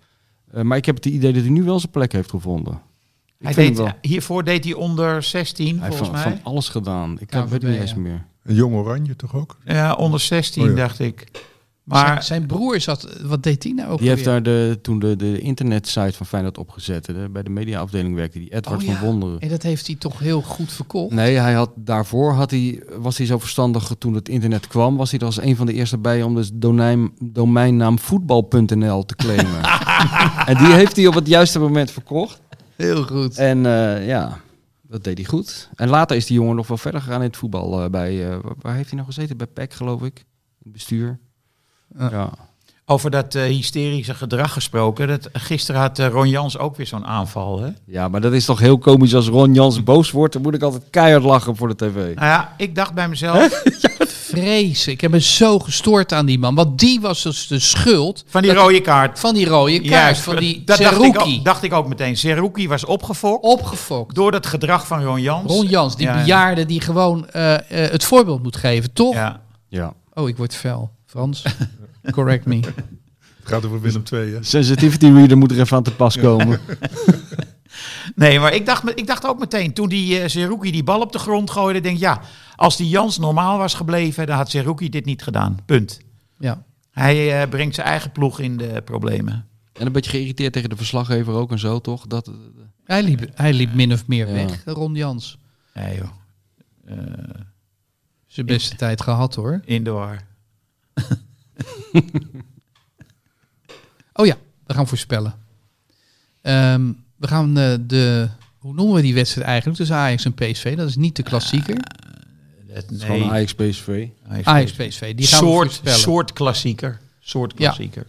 [SPEAKER 1] Eh, maar ik heb het idee dat hij nu wel zijn plek heeft gevonden. Ik
[SPEAKER 2] Hij
[SPEAKER 1] vind hem
[SPEAKER 2] deed,
[SPEAKER 1] wel-
[SPEAKER 2] hiervoor deed hij onder 16,
[SPEAKER 1] hij heeft
[SPEAKER 2] volgens
[SPEAKER 1] van,
[SPEAKER 2] mij.
[SPEAKER 1] van alles gedaan. Ik
[SPEAKER 3] KNVB,
[SPEAKER 1] weet het niet
[SPEAKER 3] ja.
[SPEAKER 1] eens meer.
[SPEAKER 5] Een jong oranje toch ook?
[SPEAKER 2] Ja, onder 16,
[SPEAKER 5] Oh ja.
[SPEAKER 2] dacht ik.
[SPEAKER 3] zijn,
[SPEAKER 2] Maar
[SPEAKER 3] zijn broer zat, wat deed hij nou ook
[SPEAKER 1] Die heeft
[SPEAKER 3] alweer?
[SPEAKER 1] daar de, toen de, de internetsite van Feyenoord opgezet. hè. bij de mediaafdeling werkte die Edward
[SPEAKER 3] Oh, ja.
[SPEAKER 1] van Wonderen.
[SPEAKER 3] En dat heeft hij toch heel goed verkocht.
[SPEAKER 1] Nee, hij had, daarvoor had hij, was hij zo verstandig toen het internet kwam. Was hij er als een van de eerste bij om de domein, domeinnaam voetbal.nl te claimen. en die heeft hij op het juiste moment verkocht.
[SPEAKER 3] Heel goed.
[SPEAKER 1] En eh, ja, dat deed hij goed. En later is die jongen nog wel verder gegaan in het voetbal. eh, bij, eh, waar- waar heeft hij nou gezeten? Bij PEC, geloof ik. In het bestuur.
[SPEAKER 3] Ja.
[SPEAKER 1] Ja.
[SPEAKER 2] over dat eh, hysterische gedrag gesproken. Dat, gisteren had eh, Ron Jans ook weer zo'n aanval. Hè?
[SPEAKER 1] ja, maar dat is toch heel komisch als Ron Jans boos wordt. Dan moet ik altijd keihard lachen voor de tv.
[SPEAKER 2] Nou ja, ik dacht bij mezelf,
[SPEAKER 3] Vrees. Ik heb me zo gestoord aan die man. Want die was dus de schuld
[SPEAKER 2] van die rode kaart.
[SPEAKER 3] van die rode kaart.
[SPEAKER 2] Juist,
[SPEAKER 3] van die
[SPEAKER 2] dat dacht ik,
[SPEAKER 3] Seruki.
[SPEAKER 2] ook, dacht ik ook meteen. Seruki was opgefokt
[SPEAKER 3] Opgefokt.
[SPEAKER 2] door dat gedrag van Ron Jans.
[SPEAKER 3] Ron Jans, die
[SPEAKER 2] Ja, ja.
[SPEAKER 3] bejaarde die gewoon eh, eh, het voorbeeld moet geven, toch?
[SPEAKER 2] Ja.
[SPEAKER 1] Ja.
[SPEAKER 3] Oh, ik word fel. Frans, correct
[SPEAKER 2] [laughs]
[SPEAKER 3] me.
[SPEAKER 5] Het gaat over Willem II, hè?
[SPEAKER 1] Sensitivity reader moet er even aan te pas komen.
[SPEAKER 2] Nee, maar ik dacht, me- ik dacht ook meteen, toen die eh Seruki die bal op de grond gooide, denk ik, ja, als die Jans normaal was gebleven, dan had Seruki dit niet gedaan. Punt.
[SPEAKER 3] Ja.
[SPEAKER 2] Hij eh, brengt zijn eigen ploeg in de problemen.
[SPEAKER 1] En een beetje geïrriteerd tegen de verslaggever ook en zo, toch? Dat,
[SPEAKER 3] Hij, liep, hij liep min of meer
[SPEAKER 1] Ja.
[SPEAKER 3] weg, Ron Jans.
[SPEAKER 2] Nee joh, Eh,
[SPEAKER 3] Zijn beste tijd gehad hoor.
[SPEAKER 2] indoor.
[SPEAKER 3] Oh ja, we gaan voorspellen. Ehm, we gaan eh, de... Hoe noemen we die wedstrijd eigenlijk tussen Ajax en PSV? Dat is niet de klassieker.
[SPEAKER 2] Het,
[SPEAKER 1] is gewoon Ajax PSV.
[SPEAKER 3] Ajax-PSV, die gaan we
[SPEAKER 2] soort,
[SPEAKER 3] voorspellen.
[SPEAKER 2] soort klassieker. Soort klassieker.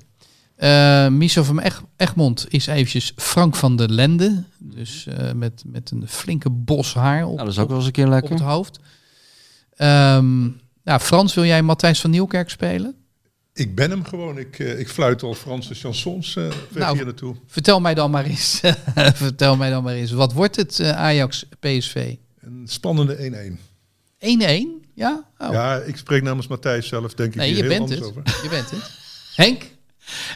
[SPEAKER 3] Eh, Michel van Eg- Egmond is eventjes Frank van der Lende. Dus eh, met, met een flinke bos haar op,
[SPEAKER 1] Nou, dat is ook wel eens een keer lekker.
[SPEAKER 3] op het hoofd. Ehm nou, Frans, wil jij Matthijs van Nieuwkerk spelen?
[SPEAKER 5] Ik ben hem gewoon. Ik, eh, ik fluit al Franse chansons eh weg
[SPEAKER 3] Nou,
[SPEAKER 5] hier naartoe.
[SPEAKER 3] Vertel mij dan maar eens. [laughs] Vertel mij dan maar eens. Wat wordt het eh, Ajax-PSV? 1-1?
[SPEAKER 5] Een spannende 1-1.
[SPEAKER 3] Ja? Oh,
[SPEAKER 5] Ja, ik spreek namens Matthijs zelf, denk ik.
[SPEAKER 3] nee, je
[SPEAKER 5] hier heel
[SPEAKER 3] bent,
[SPEAKER 5] anders
[SPEAKER 3] het.
[SPEAKER 5] over.
[SPEAKER 3] je bent het. Henk?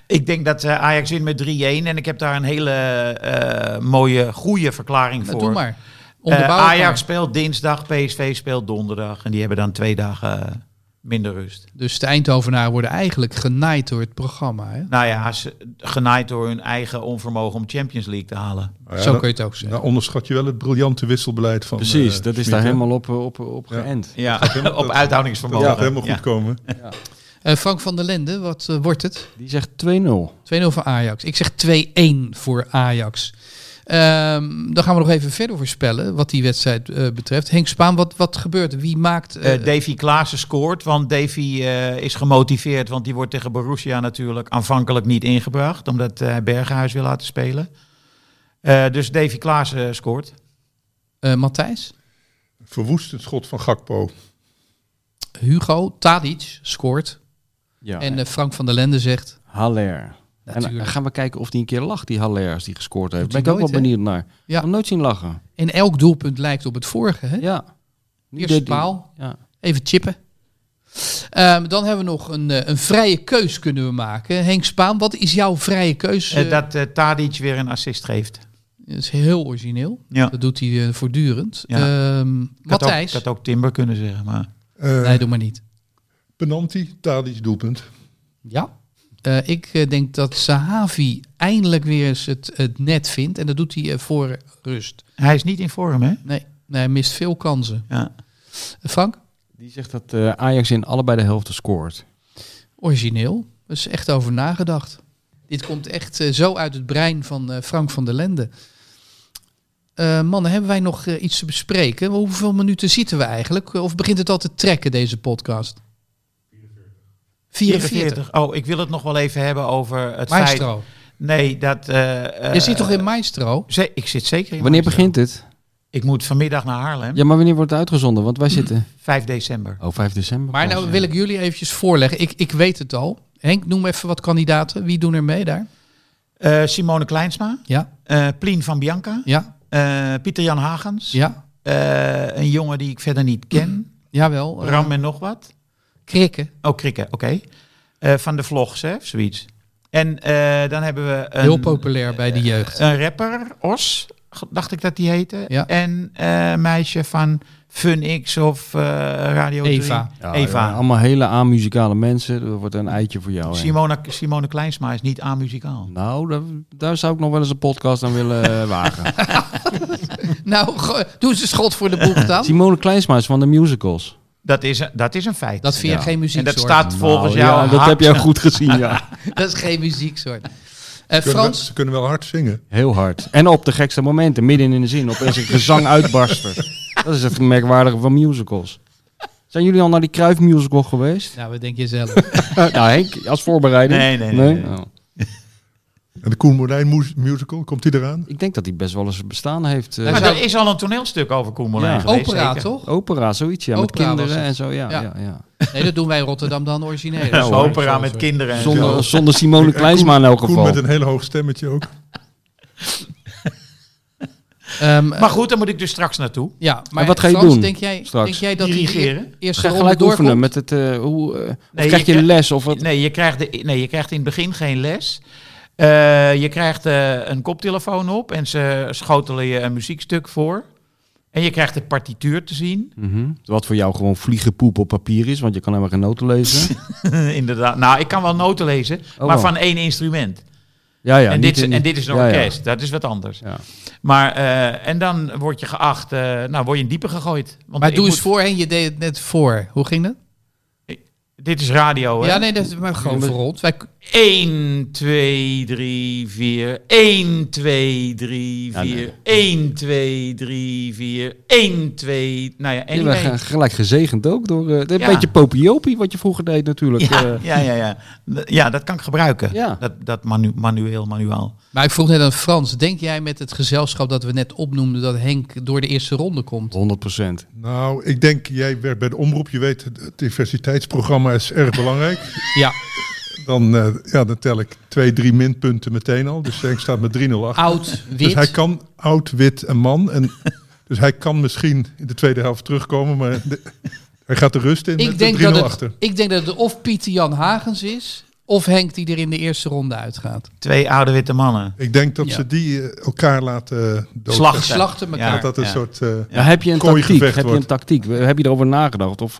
[SPEAKER 2] Ik denk dat eh, Ajax wint met 3-1 en ik heb daar een hele eh, mooie, goede verklaring
[SPEAKER 3] Nou,
[SPEAKER 2] voor.
[SPEAKER 3] doe maar.
[SPEAKER 2] Eh,
[SPEAKER 3] Onderbouw het
[SPEAKER 2] Ajax
[SPEAKER 3] maar.
[SPEAKER 2] speelt dinsdag, PSV speelt donderdag. En die hebben dan twee dagen eh, minder rust.
[SPEAKER 3] Dus de Eindhovenaren worden eigenlijk genaaid door het programma. Hè?
[SPEAKER 2] Nou ja, ze, genaaid door hun eigen onvermogen om Champions League te halen.
[SPEAKER 5] Nou ja,
[SPEAKER 3] Zo
[SPEAKER 5] dan-
[SPEAKER 3] kun je het ook zeggen.
[SPEAKER 5] Nou onderschat je wel het briljante wisselbeleid van
[SPEAKER 1] Precies,
[SPEAKER 5] eh,
[SPEAKER 1] dat is
[SPEAKER 5] Schmid,
[SPEAKER 1] daar
[SPEAKER 5] hè?
[SPEAKER 1] helemaal op, op, op
[SPEAKER 5] Ja.
[SPEAKER 1] geënt.
[SPEAKER 2] Ja,
[SPEAKER 5] helemaal-
[SPEAKER 2] [laughs] op
[SPEAKER 5] dat- Dat
[SPEAKER 2] uithoudingsvermogen.
[SPEAKER 5] gaat helemaal goed
[SPEAKER 2] Ja.
[SPEAKER 5] komen.
[SPEAKER 3] Eh, Frank van der Lende, wat eh, wordt het?
[SPEAKER 1] Die zegt 2-0.
[SPEAKER 3] 2-0 voor Ajax. Ik zeg 2-1 voor Ajax. Ehm, dan gaan we nog even verder voorspellen wat die wedstrijd eh, betreft. Henk Spaan, wat, wat gebeurt? er? Wie maakt... eh,
[SPEAKER 2] Eh, Davy Klaassen scoort, want Davy eh, is gemotiveerd. Want die wordt tegen Borussia natuurlijk aanvankelijk niet ingebracht. Omdat eh, hij Berghuis wil laten spelen. Eh, dus Davy Klaassen scoort.
[SPEAKER 3] eh, Matthijs,
[SPEAKER 5] Verwoestend schot van Gakpo.
[SPEAKER 3] Hugo, Tadic scoort.
[SPEAKER 1] Ja.
[SPEAKER 3] en eh, Frank van der Lende zegt...
[SPEAKER 1] Haller. En dan
[SPEAKER 3] Natuurlijk.
[SPEAKER 1] gaan we kijken of die een keer lacht, die Haller, als die gescoord heeft.
[SPEAKER 3] Doet
[SPEAKER 1] Ben
[SPEAKER 3] hij
[SPEAKER 1] ik ook wel
[SPEAKER 3] nooit, hè?
[SPEAKER 1] benieuwd naar.
[SPEAKER 3] Ja.
[SPEAKER 1] Ja. nooit zien lachen.
[SPEAKER 3] En elk doelpunt lijkt op het vorige. Hè?
[SPEAKER 1] Ja. Nu
[SPEAKER 3] Eerste
[SPEAKER 1] deed hij-
[SPEAKER 3] paal.
[SPEAKER 1] Ja.
[SPEAKER 3] Even chippen. Ehm, dan hebben we nog een, eh, een vrije keus kunnen we maken. Henk Spaan, wat is jouw vrije keus?
[SPEAKER 2] Eh,
[SPEAKER 3] eh,
[SPEAKER 2] dat eh, Tadic weer een assist geeft.
[SPEAKER 3] Dat is heel origineel.
[SPEAKER 2] Ja.
[SPEAKER 3] Dat doet hij eh, voortdurend.
[SPEAKER 2] Ja.
[SPEAKER 3] Ehm,
[SPEAKER 2] Ik had ook-
[SPEAKER 3] Matthijs?
[SPEAKER 2] Ik had ook Timber kunnen zeggen, maar...
[SPEAKER 5] Eh
[SPEAKER 3] Nee, doe maar niet.
[SPEAKER 5] penalty, Tadic doelpunt.
[SPEAKER 3] Ja. Eh, ik eh, denk dat Sahavi eindelijk weer eens het, het net vindt. En dat doet hij eh, voor rust.
[SPEAKER 2] Hij is niet in vorm, hè?
[SPEAKER 3] Nee, nee, hij mist veel kansen.
[SPEAKER 2] Ja.
[SPEAKER 3] Frank,
[SPEAKER 1] Die zegt dat eh, Ajax in allebei de helften scoort.
[SPEAKER 3] origineel. Er is echt over nagedacht. Dit komt echt eh, zo uit het brein van eh, Frank van der Lende. Eh, mannen, hebben wij nog eh, iets te bespreken? Hoeveel minuten zitten we eigenlijk? Of begint het al te trekken, deze podcast? 44. 44.
[SPEAKER 2] Oh, ik wil het nog wel even hebben over het feit...
[SPEAKER 3] Maestro.
[SPEAKER 2] Nee, dat... eh,
[SPEAKER 3] Je zit toch in
[SPEAKER 2] eh,
[SPEAKER 3] Maestro?
[SPEAKER 2] ze- ik zit zeker in
[SPEAKER 1] Wanneer
[SPEAKER 2] Maestro.
[SPEAKER 1] begint het?
[SPEAKER 2] Ik moet vanmiddag naar Haarlem.
[SPEAKER 1] Ja, maar wanneer wordt het uitgezonden? Want wij zitten...
[SPEAKER 2] 5 december.
[SPEAKER 1] Oh, 5 december.
[SPEAKER 3] Maar
[SPEAKER 1] pas,
[SPEAKER 3] nou
[SPEAKER 1] ja.
[SPEAKER 3] wil ik jullie eventjes voorleggen. Ik, ik weet het al. Henk, noem even wat kandidaten. Wie doen er mee daar?
[SPEAKER 2] Eh, Simone Kleinsma,
[SPEAKER 3] Ja,
[SPEAKER 2] eh, Plien van Bianca,
[SPEAKER 3] ja,
[SPEAKER 2] eh, Pieter Jan Hagens,
[SPEAKER 3] ja.
[SPEAKER 2] eh, een jongen die ik verder niet ken,
[SPEAKER 3] Jawel. eh,
[SPEAKER 2] Ram en nog wat.
[SPEAKER 3] Krikken.
[SPEAKER 2] Oh, Krikke, oké. Eh, van de vlogs, hè, of zoiets. En eh, dan hebben we een,
[SPEAKER 3] Heel populair bij de jeugd.
[SPEAKER 2] Eh, een rapper, Os, g- dacht ik dat die heette.
[SPEAKER 3] Ja.
[SPEAKER 2] En eh, een meisje van FunX of eh, Radio 3.
[SPEAKER 3] Eva. Oh,
[SPEAKER 1] Ja,
[SPEAKER 2] Eva.
[SPEAKER 1] ja, allemaal hele amuzikale mensen. Er wordt een eitje voor jou. Henk.
[SPEAKER 2] Simone, Simone Kleinsma is niet amuzikaal.
[SPEAKER 1] Nou, daar, daar zou ik nog wel eens een podcast aan willen eh,
[SPEAKER 2] [laughs]
[SPEAKER 1] wagen.
[SPEAKER 3] Nou, go- doe eens een schot voor de
[SPEAKER 1] [laughs]
[SPEAKER 3] boeg dan.
[SPEAKER 1] Simone Kleinsma is van de musicals.
[SPEAKER 2] Dat is, een- dat is een feit.
[SPEAKER 3] Dat vind je
[SPEAKER 1] Ja.
[SPEAKER 3] geen
[SPEAKER 2] en dat
[SPEAKER 3] muzieksoort.
[SPEAKER 2] staat volgens
[SPEAKER 1] Nou,
[SPEAKER 2] jou...
[SPEAKER 1] Ja, dat heb
[SPEAKER 2] hard.
[SPEAKER 1] jij goed gezien,
[SPEAKER 2] [laughs]
[SPEAKER 1] ja.
[SPEAKER 3] [laughs] Dat is geen muzieksoort. Eh
[SPEAKER 5] Kunnen wel-
[SPEAKER 3] Frans,
[SPEAKER 5] ze kunnen wel hard zingen.
[SPEAKER 1] Heel hard. En op de gekste momenten, midden in de zin, opeens een gezang uitbarsten. Dat is het merkwaardige van musicals. Zijn jullie al naar die Kruif musical
[SPEAKER 2] [laughs]
[SPEAKER 1] geweest?
[SPEAKER 3] nou, wat denk je
[SPEAKER 1] [laughs]
[SPEAKER 3] zelf?
[SPEAKER 1] nou, Henk, als voorbereiding.
[SPEAKER 2] Nee, nee, nee, nee.
[SPEAKER 1] Nou,
[SPEAKER 5] En de Koen Moulijn mu- musical, komt die eraan?
[SPEAKER 1] ik denk dat hij best wel eens bestaan heeft. eh,
[SPEAKER 2] Maar
[SPEAKER 3] Hij zou-
[SPEAKER 2] er is al een toneelstuk over Koen Moulijn
[SPEAKER 1] Ja.
[SPEAKER 2] geweest.
[SPEAKER 3] Opera,
[SPEAKER 2] zeker?
[SPEAKER 3] toch?
[SPEAKER 1] opera, zoiets, ja. met
[SPEAKER 3] Opera was
[SPEAKER 1] kinderen
[SPEAKER 3] het.
[SPEAKER 1] en zo, ja.
[SPEAKER 3] Ja.
[SPEAKER 1] ja. ja,
[SPEAKER 3] Nee, dat doen wij in Rotterdam dan
[SPEAKER 1] [laughs]
[SPEAKER 3] origineel.
[SPEAKER 2] Ja,
[SPEAKER 1] hoor.
[SPEAKER 2] opera met kinderen. en zo.
[SPEAKER 1] Zonder, zonder Simone Kleinsma in elk
[SPEAKER 5] Koen
[SPEAKER 1] geval.
[SPEAKER 5] met een heel hoog stemmetje ook.
[SPEAKER 3] Ehm, eh,
[SPEAKER 2] Maar goed, daar moet ik dus straks naartoe.
[SPEAKER 3] ja, maar
[SPEAKER 1] wat ga je
[SPEAKER 3] Frans,
[SPEAKER 1] doen
[SPEAKER 3] denk jij,
[SPEAKER 1] straks?
[SPEAKER 3] Denk jij dat die
[SPEAKER 2] Dirigeren?
[SPEAKER 3] Eerst
[SPEAKER 1] Ga gelijk
[SPEAKER 3] doorkomt?
[SPEAKER 1] oefenen met het... eh, hoe, eh, of
[SPEAKER 2] Nee,
[SPEAKER 1] krijg
[SPEAKER 2] je
[SPEAKER 1] je
[SPEAKER 2] kri-
[SPEAKER 1] les of wat?
[SPEAKER 2] Nee, je krijgt, de, nee, je krijgt in het begin geen les. Eh, je krijgt eh, een koptelefoon op en ze schotelen je een muziekstuk voor. En je krijgt het partituur te zien.
[SPEAKER 1] Mhm. Wat voor jou gewoon vliegenpoep op papier is, want je kan helemaal geen noten
[SPEAKER 2] [laughs]
[SPEAKER 1] lezen.
[SPEAKER 2] Inderdaad. Nou, ik kan wel noten lezen,
[SPEAKER 1] Oh,
[SPEAKER 2] maar
[SPEAKER 1] wel.
[SPEAKER 2] van één instrument.
[SPEAKER 1] Ja, ja,
[SPEAKER 2] en,
[SPEAKER 1] niet
[SPEAKER 2] dit, is-
[SPEAKER 1] in-
[SPEAKER 2] en dit is een
[SPEAKER 1] ja, ja.
[SPEAKER 2] orkest, dat is wat anders.
[SPEAKER 1] Ja.
[SPEAKER 2] Maar, eh, en dan word je geacht, eh, nou, word je in diepe gegooid. Want
[SPEAKER 3] Maar
[SPEAKER 2] ik
[SPEAKER 3] doe eens
[SPEAKER 2] moet-
[SPEAKER 3] voor, hè? je deed het net voor. Hoe ging dat?
[SPEAKER 2] Dit is radio, hè?
[SPEAKER 3] Ja, nee, dat is maar gewoon voor ons. Wij,
[SPEAKER 2] 1, 2, 3, 4. 1, 2, 3, 4.
[SPEAKER 1] Ja, nee.
[SPEAKER 2] 1, 2, 3, 4. 1, 2. Nou ja, en
[SPEAKER 1] Je
[SPEAKER 2] die
[SPEAKER 1] bent
[SPEAKER 2] mee.
[SPEAKER 1] ge- gelijk gezegend ook door eh, een
[SPEAKER 2] Ja.
[SPEAKER 1] beetje popiopie wat je vroeger deed natuurlijk. eh.
[SPEAKER 2] Ja, ja, ja, ja. D- ja, dat kan ik gebruiken.
[SPEAKER 1] Ja.
[SPEAKER 2] Dat, dat manu manueel, manuaal.
[SPEAKER 3] maar ik vroeg net aan Frans, denk jij met het gezelschap dat we net opnoemden dat Henk door de eerste ronde komt?
[SPEAKER 1] 100 procent.
[SPEAKER 5] Nou, ik denk, jij werkt bij de omroep. Je weet, het diversiteitsprogramma is erg belangrijk.
[SPEAKER 3] Ja,
[SPEAKER 5] Dan, eh, ja, dan tel ik twee, drie minpunten meteen al. Dus ik staat met 3-0 achter.
[SPEAKER 3] oud, wit.
[SPEAKER 5] Dus hij kan oud, wit en
[SPEAKER 3] [laughs]
[SPEAKER 5] man. En, dus hij kan misschien in de tweede helft terugkomen. Maar de- hij gaat de rust in
[SPEAKER 3] ik,
[SPEAKER 5] met de 3-0
[SPEAKER 3] denk dat het,
[SPEAKER 5] achter.
[SPEAKER 3] ik denk dat het of Pieter Jan Hagens is, of Henk die er in de eerste ronde uitgaat.
[SPEAKER 2] Twee oude witte mannen.
[SPEAKER 5] Ik denk dat
[SPEAKER 3] Ja.
[SPEAKER 5] ze die eh, elkaar laten eh, doden.
[SPEAKER 2] Slachten.
[SPEAKER 3] Slachten elkaar.
[SPEAKER 5] Dat dat een
[SPEAKER 2] ja.
[SPEAKER 5] soort... eh,
[SPEAKER 1] Ja, heb je een tactiek?
[SPEAKER 5] Kooigevecht
[SPEAKER 1] Heb je een
[SPEAKER 5] wordt.
[SPEAKER 1] tactiek? Heb je erover nagedacht? Of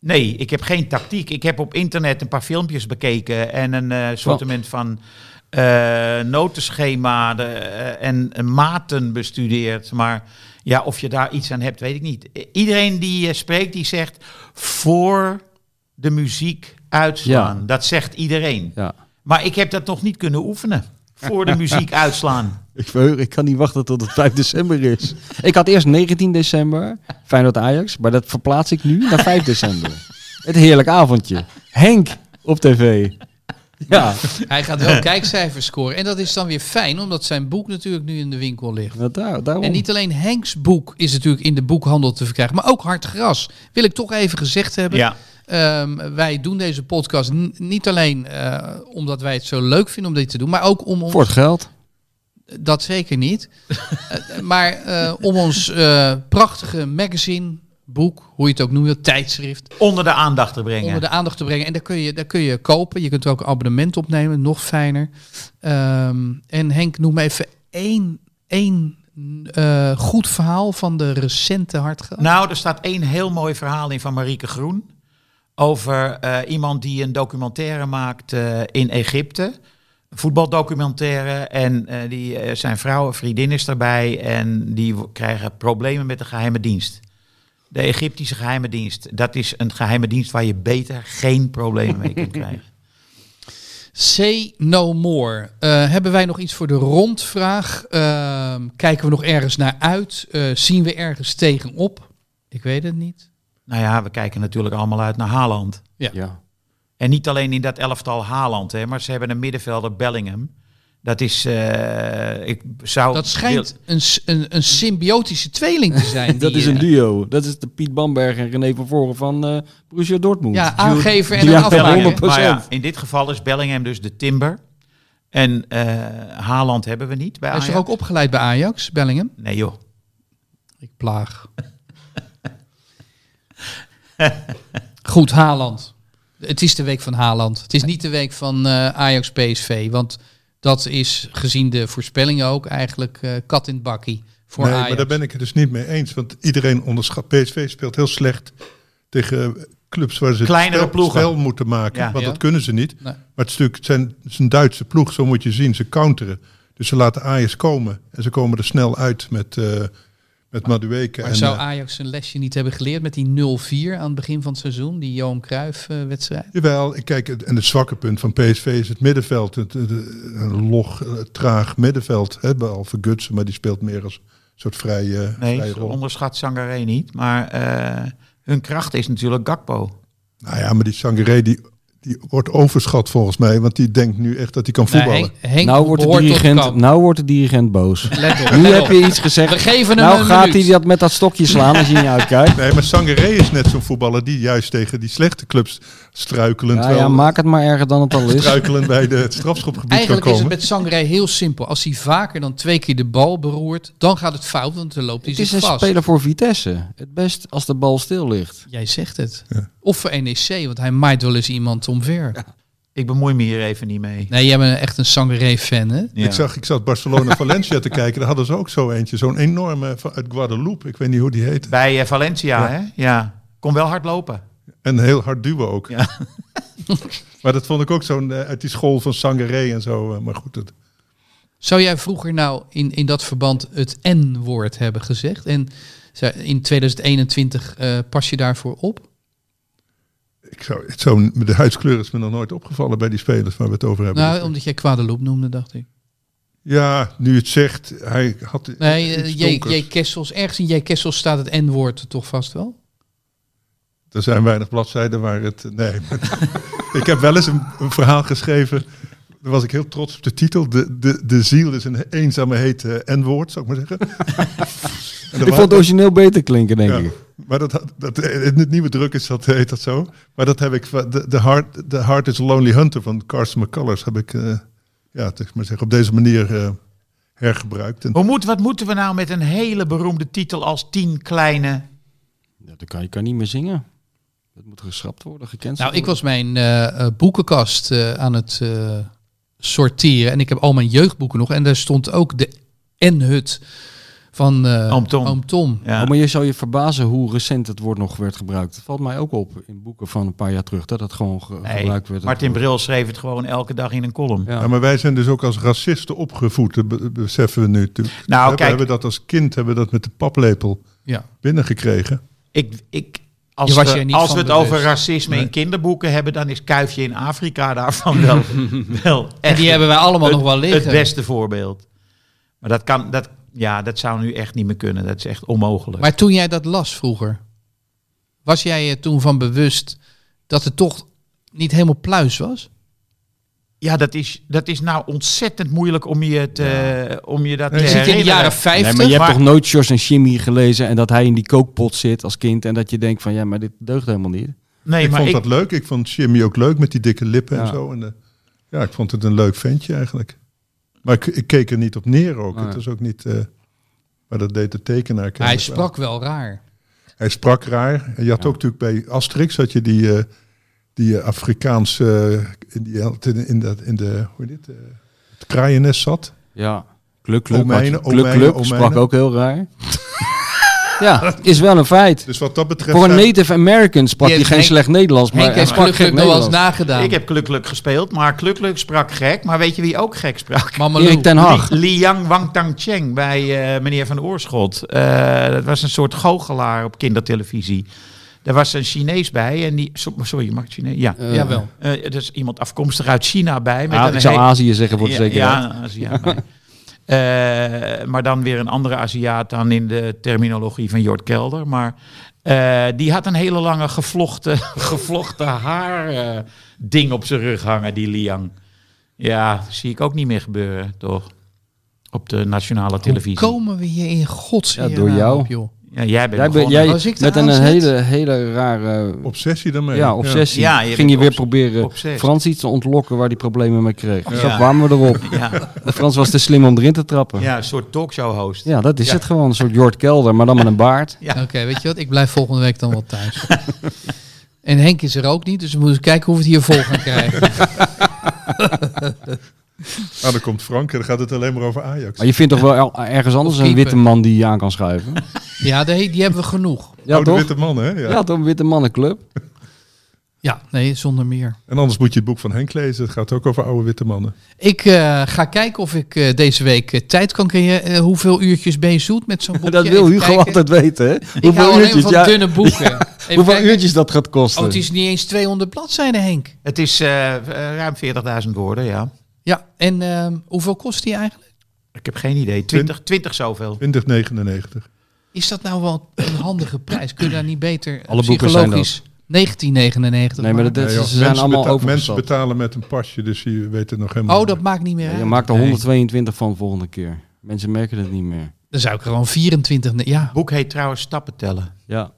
[SPEAKER 2] Nee, ik heb geen tactiek. Ik heb op internet een paar filmpjes bekeken en een eh assortiment van eh, notenschema de, eh, en eh, maten bestudeerd. Maar ja, of je daar iets aan hebt, weet ik niet. I- Iedereen die eh, spreekt, die zegt voor de muziek uitslaan.
[SPEAKER 1] Ja.
[SPEAKER 2] Dat zegt iedereen.
[SPEAKER 1] ja.
[SPEAKER 2] Maar ik heb dat nog niet kunnen oefenen. Voor de muziek uitslaan.
[SPEAKER 1] Ik, verheug, ik kan niet wachten tot het 5 december is. [laughs] Ik had eerst 19 december, Feyenoord Ajax, maar dat verplaats ik nu naar 5 december.
[SPEAKER 2] [laughs]
[SPEAKER 1] Het heerlijk avondje. Henk op tv. Ja,
[SPEAKER 3] Hij gaat wel kijkcijfers scoren. En dat is dan weer fijn, omdat zijn boek natuurlijk nu in de winkel ligt.
[SPEAKER 1] nou, daar,
[SPEAKER 5] Oh.
[SPEAKER 1] daarom.
[SPEAKER 3] En niet alleen Henks boek is natuurlijk in de boekhandel te verkrijgen, maar ook Hard Gras. Wil ik toch even gezegd hebben.
[SPEAKER 2] Ja.
[SPEAKER 3] Ehm, wij doen deze podcast n- niet alleen eh, omdat wij het zo leuk vinden om dit te doen, maar ook om ons.
[SPEAKER 1] Voor het geld.
[SPEAKER 3] Dat zeker niet. [laughs] Eh, maar eh, om ons eh, prachtige magazine, boek, hoe je het ook noemt, tijdschrift,
[SPEAKER 2] Onder de aandacht te brengen.
[SPEAKER 3] onder de aandacht te brengen. En daar kun je, daar kun je kopen. Je kunt er ook een abonnement opnemen, nog fijner. Ehm, en Henk, noem even één, één eh, goed verhaal van de recente hartgras.
[SPEAKER 2] Nou, er staat één heel mooi verhaal in van Marieke Groen. Over eh, iemand die een documentaire maakt eh, in Egypte. Een voetbaldocumentaire. En eh, die, eh, zijn vrouw, een vriendin is daarbij. En die w- krijgen problemen met de geheime dienst. De Egyptische geheime dienst. Dat is een geheime dienst waar je beter geen problemen mee kunt krijgen.
[SPEAKER 3] Say no more. Eh, hebben wij nog iets voor de rondvraag? Ehm, kijken we nog ergens naar uit? Eh, zien we ergens tegenop? Ik weet het niet.
[SPEAKER 2] Nou ja, we kijken natuurlijk allemaal uit naar Haaland.
[SPEAKER 1] Ja.
[SPEAKER 2] En niet alleen in dat elftal Haaland, hè, maar ze hebben een middenvelder Bellingham. Dat is, eh, ik
[SPEAKER 1] Oh,
[SPEAKER 2] zou...
[SPEAKER 3] Dat schijnt een, s- een, een symbiotische tweeling te
[SPEAKER 1] [laughs]
[SPEAKER 3] zijn.
[SPEAKER 1] Dat
[SPEAKER 3] die,
[SPEAKER 1] is een
[SPEAKER 3] eh,
[SPEAKER 1] duo. Dat is de Piet Bamberg en René van Voren van eh Borussia Dortmund.
[SPEAKER 3] Ja, aangever en
[SPEAKER 1] Ja,
[SPEAKER 3] een
[SPEAKER 2] wil
[SPEAKER 1] Bellingham.
[SPEAKER 3] afmaker.
[SPEAKER 1] 100%.
[SPEAKER 2] Maar Nou ja, in dit geval is Bellingham dus de timber. En eh, Haaland hebben we niet bij
[SPEAKER 3] Hij is
[SPEAKER 2] Ajax.
[SPEAKER 3] er ook opgeleid bij Ajax, Bellingham.
[SPEAKER 2] Nee joh.
[SPEAKER 3] Ik
[SPEAKER 1] [laughs]
[SPEAKER 3] plaag. Goed, Haaland. Het is de week van Haaland. Het is niet de week van eh, Ajax PSV. Want dat is gezien de voorspellingen ook eigenlijk eh, kat in het bakkie voor
[SPEAKER 5] Nee,
[SPEAKER 3] Ajax.
[SPEAKER 5] maar daar ben ik het dus niet mee eens. Want iedereen onderschat. PSV speelt heel slecht tegen clubs waar ze het
[SPEAKER 2] Kleinere
[SPEAKER 5] spel,
[SPEAKER 2] ploegen.
[SPEAKER 5] spel moeten maken.
[SPEAKER 2] Ja.
[SPEAKER 5] Want
[SPEAKER 3] Ja.
[SPEAKER 5] dat kunnen ze niet.
[SPEAKER 3] Nee.
[SPEAKER 5] Maar het, stuk, het, zijn, het is een Duitse ploeg, zo moet je zien. Ze counteren. Dus ze laten Ajax komen. En ze komen er snel uit met, eh met Madueke.
[SPEAKER 3] Maar
[SPEAKER 5] en,
[SPEAKER 3] zou
[SPEAKER 5] eh,
[SPEAKER 3] Ajax zijn lesje niet hebben geleerd met die 0-4 aan het begin van het seizoen? Die Johan eh, Cruijff-wedstrijd?
[SPEAKER 5] Jawel, ik kijk, het- en het zwakke punt van PSV is het middenveld. Het, het- een log, eh, traag middenveld. Hè, behalve Gutsen, maar die speelt meer als een soort vrije,
[SPEAKER 2] Nee,
[SPEAKER 5] vrije
[SPEAKER 2] ze
[SPEAKER 5] rol.
[SPEAKER 2] onderschat Sangaré niet. Maar eh, hun kracht is natuurlijk Gakpo.
[SPEAKER 5] Nou ja, maar die Sangaré die, die wordt overschat volgens mij. Want die denkt nu echt dat hij kan voetballen.
[SPEAKER 3] Nee, Henk, Henk
[SPEAKER 1] Nou wordt, de
[SPEAKER 3] behoort tot
[SPEAKER 1] dirigent,
[SPEAKER 3] kamp.
[SPEAKER 1] nou wordt de dirigent boos.
[SPEAKER 3] Let op,
[SPEAKER 1] Nu
[SPEAKER 3] let
[SPEAKER 1] heb
[SPEAKER 3] op.
[SPEAKER 1] je iets gezegd.
[SPEAKER 3] We geven hem
[SPEAKER 1] nou
[SPEAKER 3] een
[SPEAKER 1] gaat
[SPEAKER 3] minuut.
[SPEAKER 1] hij dat met dat stokje slaan als je niet
[SPEAKER 5] [laughs]
[SPEAKER 1] uitkijkt.
[SPEAKER 5] Nee, maar Sangaré is net zo'n voetballer die juist tegen die slechte clubs struikelend,
[SPEAKER 1] Ja,
[SPEAKER 5] wel-
[SPEAKER 1] ja, maak het maar erger dan het al is.
[SPEAKER 5] struikelend bij de, het strafschopgebied kan
[SPEAKER 3] dus- Eigenlijk is het
[SPEAKER 5] komen.
[SPEAKER 3] met Sangré heel simpel. Als hij vaker dan twee keer de bal beroert, dan gaat het fout, want dan loopt hij
[SPEAKER 1] Het is
[SPEAKER 3] zich
[SPEAKER 1] een
[SPEAKER 3] vast.
[SPEAKER 1] speler voor Vitesse. Het best als de bal stil ligt.
[SPEAKER 3] Jij zegt het. Of voor NEC, want hij maait wel eens iemand omver.
[SPEAKER 2] Ik bemoei me hier even niet mee.
[SPEAKER 3] Nee, jij bent echt een Sangré-fan, hè?
[SPEAKER 2] Ja.
[SPEAKER 5] Ik, zag, ik zat Barcelona-Valencia te kijken. Daar hadden ze ook zo eentje. Zo'n enorme van- uit Guadeloupe. Ik weet niet hoe die heet.
[SPEAKER 2] Bij eh, Valencia, hè? Ja. Kon wel hard lopen.
[SPEAKER 5] En heel hard duwen ook.
[SPEAKER 2] Ja.
[SPEAKER 5] [laughs] maar dat vond ik ook zo'n eh, uit die school van Sangaré en zo. eh, Maar goed, dat,
[SPEAKER 3] Zou jij vroeger nou in, in dat verband het N-woord hebben gezegd? En zou- in 2021 eh, pas je daarvoor op?
[SPEAKER 5] ik zou, het zou, de huidskleur is me nog nooit opgevallen bij die spelers waar we het over hebben.
[SPEAKER 3] Nou, omdat jij Guadeloupe noemde, dacht ik.
[SPEAKER 5] Ja, nu je het zegt, hij had
[SPEAKER 3] Nee,
[SPEAKER 5] iets
[SPEAKER 3] eh, J.
[SPEAKER 5] donkers.
[SPEAKER 3] J. Kessels. Ergens in J. Kessels staat het N-woord toch vast wel?
[SPEAKER 5] Er zijn weinig bladzijden waar het... Nee, maar [laughs] ik heb wel eens een, een verhaal geschreven. Daar was ik heel trots op de titel. De, de, de ziel is een eenzame hete eh, N-woord, zou ik maar zeggen. [laughs] En er
[SPEAKER 1] Ik
[SPEAKER 5] wa-
[SPEAKER 1] vond het origineel beter klinken, denk
[SPEAKER 5] ja,
[SPEAKER 1] ik.
[SPEAKER 5] maar dat, had- dat, in het nieuwe druk is dat, eh, heet dat zo. Maar dat heb ik... van- De, de, heart, de heart is a Lonely Hunter van Carson McCullers heb ik... eh, ja, het is maar zeggen, op deze manier eh, hergebruikt. En
[SPEAKER 2] Hoe moet, wat moeten we nou met een hele beroemde titel als tien kleine...
[SPEAKER 1] Ja, dan kan je kan niet meer zingen. Dat moet geschrapt worden, gekend.
[SPEAKER 3] Nou, ik was mijn eh, eh, boekenkast eh, aan het eh, sorteren. En ik heb al mijn jeugdboeken nog. En daar stond ook de N-hut van eh
[SPEAKER 2] Oom Tom.
[SPEAKER 3] Tom.
[SPEAKER 2] Ja.
[SPEAKER 1] Oh, maar je zou je verbazen hoe recent het woord nog werd gebruikt. Het valt mij ook op in boeken van een paar jaar terug dat het gewoon ge-
[SPEAKER 2] Nee,
[SPEAKER 1] gebruikt werd.
[SPEAKER 2] Martin Bril schreef het gewoon elke dag in een column.
[SPEAKER 1] Ja.
[SPEAKER 5] Ja, maar wij zijn dus ook als racisten opgevoed, dat be- beseffen we nu natuurlijk. we hebben,
[SPEAKER 2] Nou, kijk-
[SPEAKER 5] hebben dat als kind hebben we dat met de paplepel
[SPEAKER 3] Ja.
[SPEAKER 5] binnengekregen.
[SPEAKER 2] Ik, ik, als
[SPEAKER 3] Je was je
[SPEAKER 2] we,
[SPEAKER 3] er niet
[SPEAKER 2] als
[SPEAKER 3] van
[SPEAKER 2] we het
[SPEAKER 3] bewust.
[SPEAKER 2] over racisme in kinderboeken hebben, dan is Kuifje in Afrika
[SPEAKER 3] [laughs]
[SPEAKER 2] daarvan wel, wel
[SPEAKER 3] En
[SPEAKER 2] echt
[SPEAKER 3] die hebben wij allemaal
[SPEAKER 2] het,
[SPEAKER 3] nog wel liggen.
[SPEAKER 2] het beste voorbeeld. Maar dat, kan, dat, ja, dat zou nu echt niet meer kunnen. Dat is echt onmogelijk.
[SPEAKER 3] Maar toen jij dat las vroeger, was jij je toen van bewust dat het toch niet helemaal pluis was?
[SPEAKER 2] ja, dat is, dat is nou ontzettend moeilijk om je, te, om je dat
[SPEAKER 5] Nee,
[SPEAKER 2] te
[SPEAKER 3] Ik
[SPEAKER 5] je
[SPEAKER 3] zit in de
[SPEAKER 2] herinneren.
[SPEAKER 3] jaren
[SPEAKER 1] Nee,
[SPEAKER 3] 50.
[SPEAKER 1] maar je hebt
[SPEAKER 2] maar-
[SPEAKER 1] toch nooit George en Jimmy gelezen en dat hij in die kookpot zit als kind en dat je denkt van ja, maar dit deugt helemaal niet.
[SPEAKER 2] Nee,
[SPEAKER 5] ik
[SPEAKER 2] maar
[SPEAKER 5] vond
[SPEAKER 2] ik,
[SPEAKER 5] dat leuk. Ik vond Jimmy ook leuk met die dikke lippen
[SPEAKER 1] Ja.
[SPEAKER 5] en zo. En eh, ja, ik vond het een leuk ventje eigenlijk. Maar ik, ik keek er niet op neer ook.
[SPEAKER 1] Nee.
[SPEAKER 5] Het was ook niet... eh, maar dat deed de tekenaar
[SPEAKER 3] Maar hij
[SPEAKER 5] kennelijk wel.
[SPEAKER 3] sprak wel raar.
[SPEAKER 5] Hij sprak raar. En je had ook natuurlijk bij Asterix had je die, eh, die eh, Afrikaanse... eh, in, die, in, in, dat, in de... Hoe heet dit? eh, het kraaiennest zat.
[SPEAKER 1] Ja. Kluk, kluk,
[SPEAKER 5] Omijnen,
[SPEAKER 1] had je- kluk,
[SPEAKER 5] omijnen,
[SPEAKER 1] kluk,
[SPEAKER 5] omijnen.
[SPEAKER 1] sprak ook heel raar. [laughs] ja, is wel een feit.
[SPEAKER 5] Dus wat dat betreft...
[SPEAKER 1] Voor een
[SPEAKER 5] zijn-
[SPEAKER 1] Native American sprak hij
[SPEAKER 3] Die heeft
[SPEAKER 1] geen
[SPEAKER 3] Henk-
[SPEAKER 1] slecht Nederlands, maar
[SPEAKER 3] Henk
[SPEAKER 1] hij
[SPEAKER 3] heeft
[SPEAKER 1] sprak
[SPEAKER 3] gelukkig
[SPEAKER 1] geen
[SPEAKER 3] nog wel eens
[SPEAKER 1] Nederlands.
[SPEAKER 3] nagedaan.
[SPEAKER 2] ik heb Klukluk gespeeld, maar Klukluk sprak gek. Maar weet je wie ook gek sprak?
[SPEAKER 3] Mameloe.
[SPEAKER 1] Erik ten Hag.
[SPEAKER 2] Li- Liang Wangtang Cheng bij eh, meneer Van Oorschot. Eh, dat was een soort goochelaar op kindertelevisie. Daar was een Chinees bij en die... so- Sorry, mag ik Chinees? Ja.
[SPEAKER 1] Eh,
[SPEAKER 3] Jawel.
[SPEAKER 2] Eh, er is iemand afkomstig uit China bij. Met
[SPEAKER 1] Ah,
[SPEAKER 2] een
[SPEAKER 1] ik zou
[SPEAKER 2] he-
[SPEAKER 1] Azië zeggen voor de zekerheid.
[SPEAKER 2] Ja, een Aziat bij. [laughs] Eh, maar dan weer een andere Aziat dan in de terminologie van Jort Kelder. Maar eh, die had een hele lange [laughs] gevlochten, gevlochten haar eh, ding op zijn rug hangen, die Liang. Ja, zie ik ook niet meer gebeuren, toch? Op de nationale televisie.
[SPEAKER 3] Hoe komen we hier in godsnaam
[SPEAKER 1] Ja, door jou.
[SPEAKER 3] op, joh?
[SPEAKER 2] Ja, jij bent
[SPEAKER 1] Jij, bent-
[SPEAKER 2] begonnen.
[SPEAKER 1] jij
[SPEAKER 3] Als ik
[SPEAKER 1] met
[SPEAKER 3] eraan
[SPEAKER 1] een
[SPEAKER 3] zet-
[SPEAKER 1] hele, hele rare eh,
[SPEAKER 5] Obsessie daarmee.
[SPEAKER 1] ja, obsessie
[SPEAKER 2] Ja, je
[SPEAKER 1] ging
[SPEAKER 2] bent
[SPEAKER 1] je weer
[SPEAKER 2] obs-
[SPEAKER 1] proberen
[SPEAKER 2] obsessed.
[SPEAKER 1] Frans iets te ontlokken waar die problemen mee kreeg.
[SPEAKER 2] Ja.
[SPEAKER 1] Zo kwamen we
[SPEAKER 3] [laughs]
[SPEAKER 1] erop.
[SPEAKER 2] Ja,
[SPEAKER 1] En Frans was te slim om erin te trappen. Ja,
[SPEAKER 2] ja, een soort talkshow host.
[SPEAKER 1] dat is
[SPEAKER 2] Ja.
[SPEAKER 1] het gewoon. Een soort Jord Kelder, maar dan met een baard.
[SPEAKER 2] Ja.
[SPEAKER 3] Oké, weet je wat? Ik blijf volgende week dan wel
[SPEAKER 1] [laughs]
[SPEAKER 3] thuis. en Henk is er ook niet, dus we moeten kijken hoe we het hier vol gaan
[SPEAKER 1] [laughs]
[SPEAKER 3] krijgen.
[SPEAKER 5] Ah, dan komt Frank en dan gaat het alleen maar over Ajax.
[SPEAKER 1] Maar je vindt toch wel el- ergens anders een
[SPEAKER 3] keeper.
[SPEAKER 1] witte man die je aan kan
[SPEAKER 3] [laughs]
[SPEAKER 1] schuiven?
[SPEAKER 3] ja, die, die hebben we genoeg.
[SPEAKER 1] Ja,
[SPEAKER 5] oh, de
[SPEAKER 1] toch?
[SPEAKER 5] witte man, hè? Ja.
[SPEAKER 1] Ja, toch een witte mannenclub.
[SPEAKER 3] Ja, nee, zonder meer.
[SPEAKER 5] En anders moet je het boek van Henk lezen. Het gaat ook over oude witte mannen.
[SPEAKER 3] Ik eh, ga kijken of ik eh, deze week eh, tijd kan creëren. Eh, hoeveel uurtjes ben je zoet met zo'n boekje?
[SPEAKER 1] [laughs] Dat wil
[SPEAKER 3] Even
[SPEAKER 1] Hugo
[SPEAKER 3] kijken.
[SPEAKER 1] altijd weten, hè?
[SPEAKER 3] Ik hou alleen maar van
[SPEAKER 1] ja,
[SPEAKER 3] dunne boeken.
[SPEAKER 1] [laughs]
[SPEAKER 3] Even
[SPEAKER 1] hoeveel
[SPEAKER 3] kijken.
[SPEAKER 1] uurtjes dat gaat kosten.
[SPEAKER 3] Oh, het is niet eens 200 bladzijden, Henk.
[SPEAKER 2] Het is eh, eh, ruim 40.000 woorden, ja.
[SPEAKER 3] Ja, en ehm, hoeveel kost die eigenlijk?
[SPEAKER 2] Ik heb geen idee. 20, 20 zoveel.
[SPEAKER 5] 2099.
[SPEAKER 3] Is dat nou wel een handige prijs? Kun je daar niet beter eh,
[SPEAKER 1] Alle boeken zijn
[SPEAKER 3] psychologisch 1999
[SPEAKER 1] Nee, maar dat,
[SPEAKER 3] maken?
[SPEAKER 1] dat-
[SPEAKER 5] Ja, joh,
[SPEAKER 1] ze zijn allemaal
[SPEAKER 5] beta-
[SPEAKER 1] overgestapt.
[SPEAKER 5] mensen betalen met een pasje, dus je weet het nog helemaal
[SPEAKER 3] Oh, dat
[SPEAKER 5] niet.
[SPEAKER 3] maakt niet meer
[SPEAKER 1] Ja,
[SPEAKER 3] uit.
[SPEAKER 1] je maakt er
[SPEAKER 2] Nee.
[SPEAKER 1] 122 van de volgende keer. Mensen merken het niet meer.
[SPEAKER 3] Dan zou ik er gewoon 24... ne- Ja,
[SPEAKER 2] Het boek heet trouwens Stappen tellen.
[SPEAKER 1] Ja.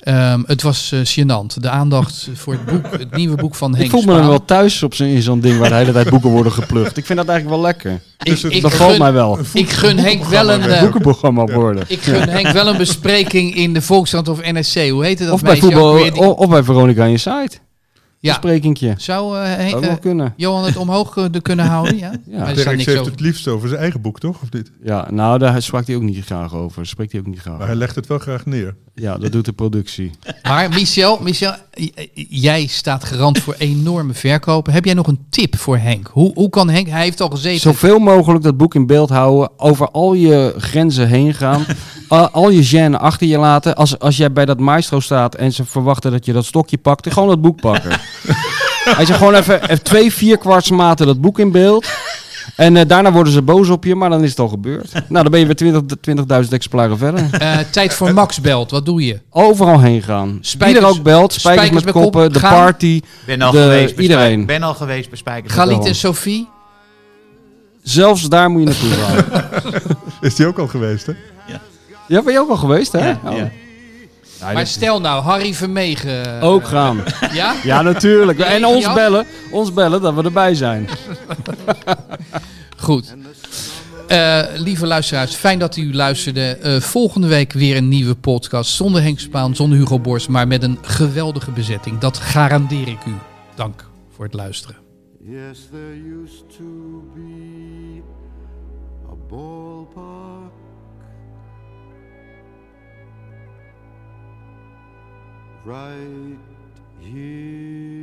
[SPEAKER 3] ehm, het was eh, gênant. De aandacht voor het boek, het nieuwe boek van Henk
[SPEAKER 1] Ik voel me
[SPEAKER 3] Spaan.
[SPEAKER 1] dan wel thuis op zo'n, in zo'n ding waar de hele tijd boeken worden geplukt. Ik vind dat eigenlijk wel lekker.
[SPEAKER 3] Ik, ik
[SPEAKER 1] dat valt
[SPEAKER 3] gun,
[SPEAKER 1] mij wel.
[SPEAKER 3] ik gun Henk wel een... eh,
[SPEAKER 1] Boekenprogramma worden.
[SPEAKER 3] ik gun
[SPEAKER 1] [laughs]
[SPEAKER 3] Henk wel een bespreking in de Volkskrant of NSC. Hoe heette dat
[SPEAKER 1] Of bij,
[SPEAKER 3] meisje ook
[SPEAKER 1] voetbal,
[SPEAKER 3] weer die-
[SPEAKER 1] o- of bij Veronica aan je site.
[SPEAKER 3] Ja.
[SPEAKER 1] Ja. Sprekingje.
[SPEAKER 3] Zou eh, Henk-
[SPEAKER 1] Dat wel
[SPEAKER 3] eh,
[SPEAKER 1] kunnen.
[SPEAKER 3] Johan het omhoog eh, de kunnen houden? Ja,
[SPEAKER 1] Oh. Ja.
[SPEAKER 3] Maar er
[SPEAKER 5] Dirk
[SPEAKER 3] staat niks
[SPEAKER 5] heeft
[SPEAKER 3] over.
[SPEAKER 5] het liefst over zijn eigen boek, toch? Of niet?
[SPEAKER 1] Ja, nou, daar sprak hij ook niet graag over. Daar spreekt hij ook niet graag
[SPEAKER 5] Maar hij
[SPEAKER 1] over.
[SPEAKER 5] legt het wel graag neer.
[SPEAKER 1] Ja, dat doet de productie.
[SPEAKER 3] Maar Michel, Michel, j- jij staat garant voor enorme verkopen. Heb jij nog een tip voor Henk? Hoe, hoe kan Henk, hij heeft al gezeten.
[SPEAKER 1] Zoveel mogelijk dat boek in beeld houden. Over al je grenzen heen gaan. al, al je gêne achter je laten. Als, als jij bij dat maestro staat en ze verwachten dat je dat stokje pakt. Gewoon dat boek pakken. Hij zegt gewoon even, even twee vierkwarts maten dat boek in beeld. En eh, daarna worden ze boos op je, maar dan is het al gebeurd. Nou, dan ben je weer 20 20.000 exemplaren verder.
[SPEAKER 3] Eh, tijd voor Max belt, wat doe je?
[SPEAKER 1] Overal heen gaan.
[SPEAKER 3] Spijkers-
[SPEAKER 1] Spijkers, Wie er ook belt. Spijkers,
[SPEAKER 3] spijkers
[SPEAKER 1] met
[SPEAKER 3] bij kop,
[SPEAKER 1] koppen. de
[SPEAKER 3] gaan.
[SPEAKER 1] party.
[SPEAKER 2] Ben al
[SPEAKER 1] De-
[SPEAKER 2] geweest bij
[SPEAKER 1] iedereen.
[SPEAKER 2] Spijker- Ben al geweest bij Spijker.
[SPEAKER 3] Galit
[SPEAKER 1] daarom.
[SPEAKER 3] en Sophie?
[SPEAKER 1] Zelfs daar moet je naartoe gaan.
[SPEAKER 5] Is die ook al geweest, hè?
[SPEAKER 1] ja, ben je ook al geweest, hè?
[SPEAKER 2] Ja,
[SPEAKER 1] Oh.
[SPEAKER 2] ja.
[SPEAKER 1] Ja,
[SPEAKER 3] Maar
[SPEAKER 1] dat-
[SPEAKER 3] stel nou, Harry Vermegen. eh,
[SPEAKER 1] Ook gaan.
[SPEAKER 3] Ja?
[SPEAKER 1] Ja, natuurlijk. En ons
[SPEAKER 3] Jan?
[SPEAKER 1] bellen, ons bellen dat we erbij zijn.
[SPEAKER 3] Goed. Eh, lieve luisteraars, fijn dat u luisterde. Eh, volgende week weer een nieuwe podcast. Zonder Henk Spaan, zonder Hugo Borst, maar met een geweldige bezetting. Dat garandeer ik u. Dank voor het luisteren.
[SPEAKER 4] Yes, there used to be a ballpark right here.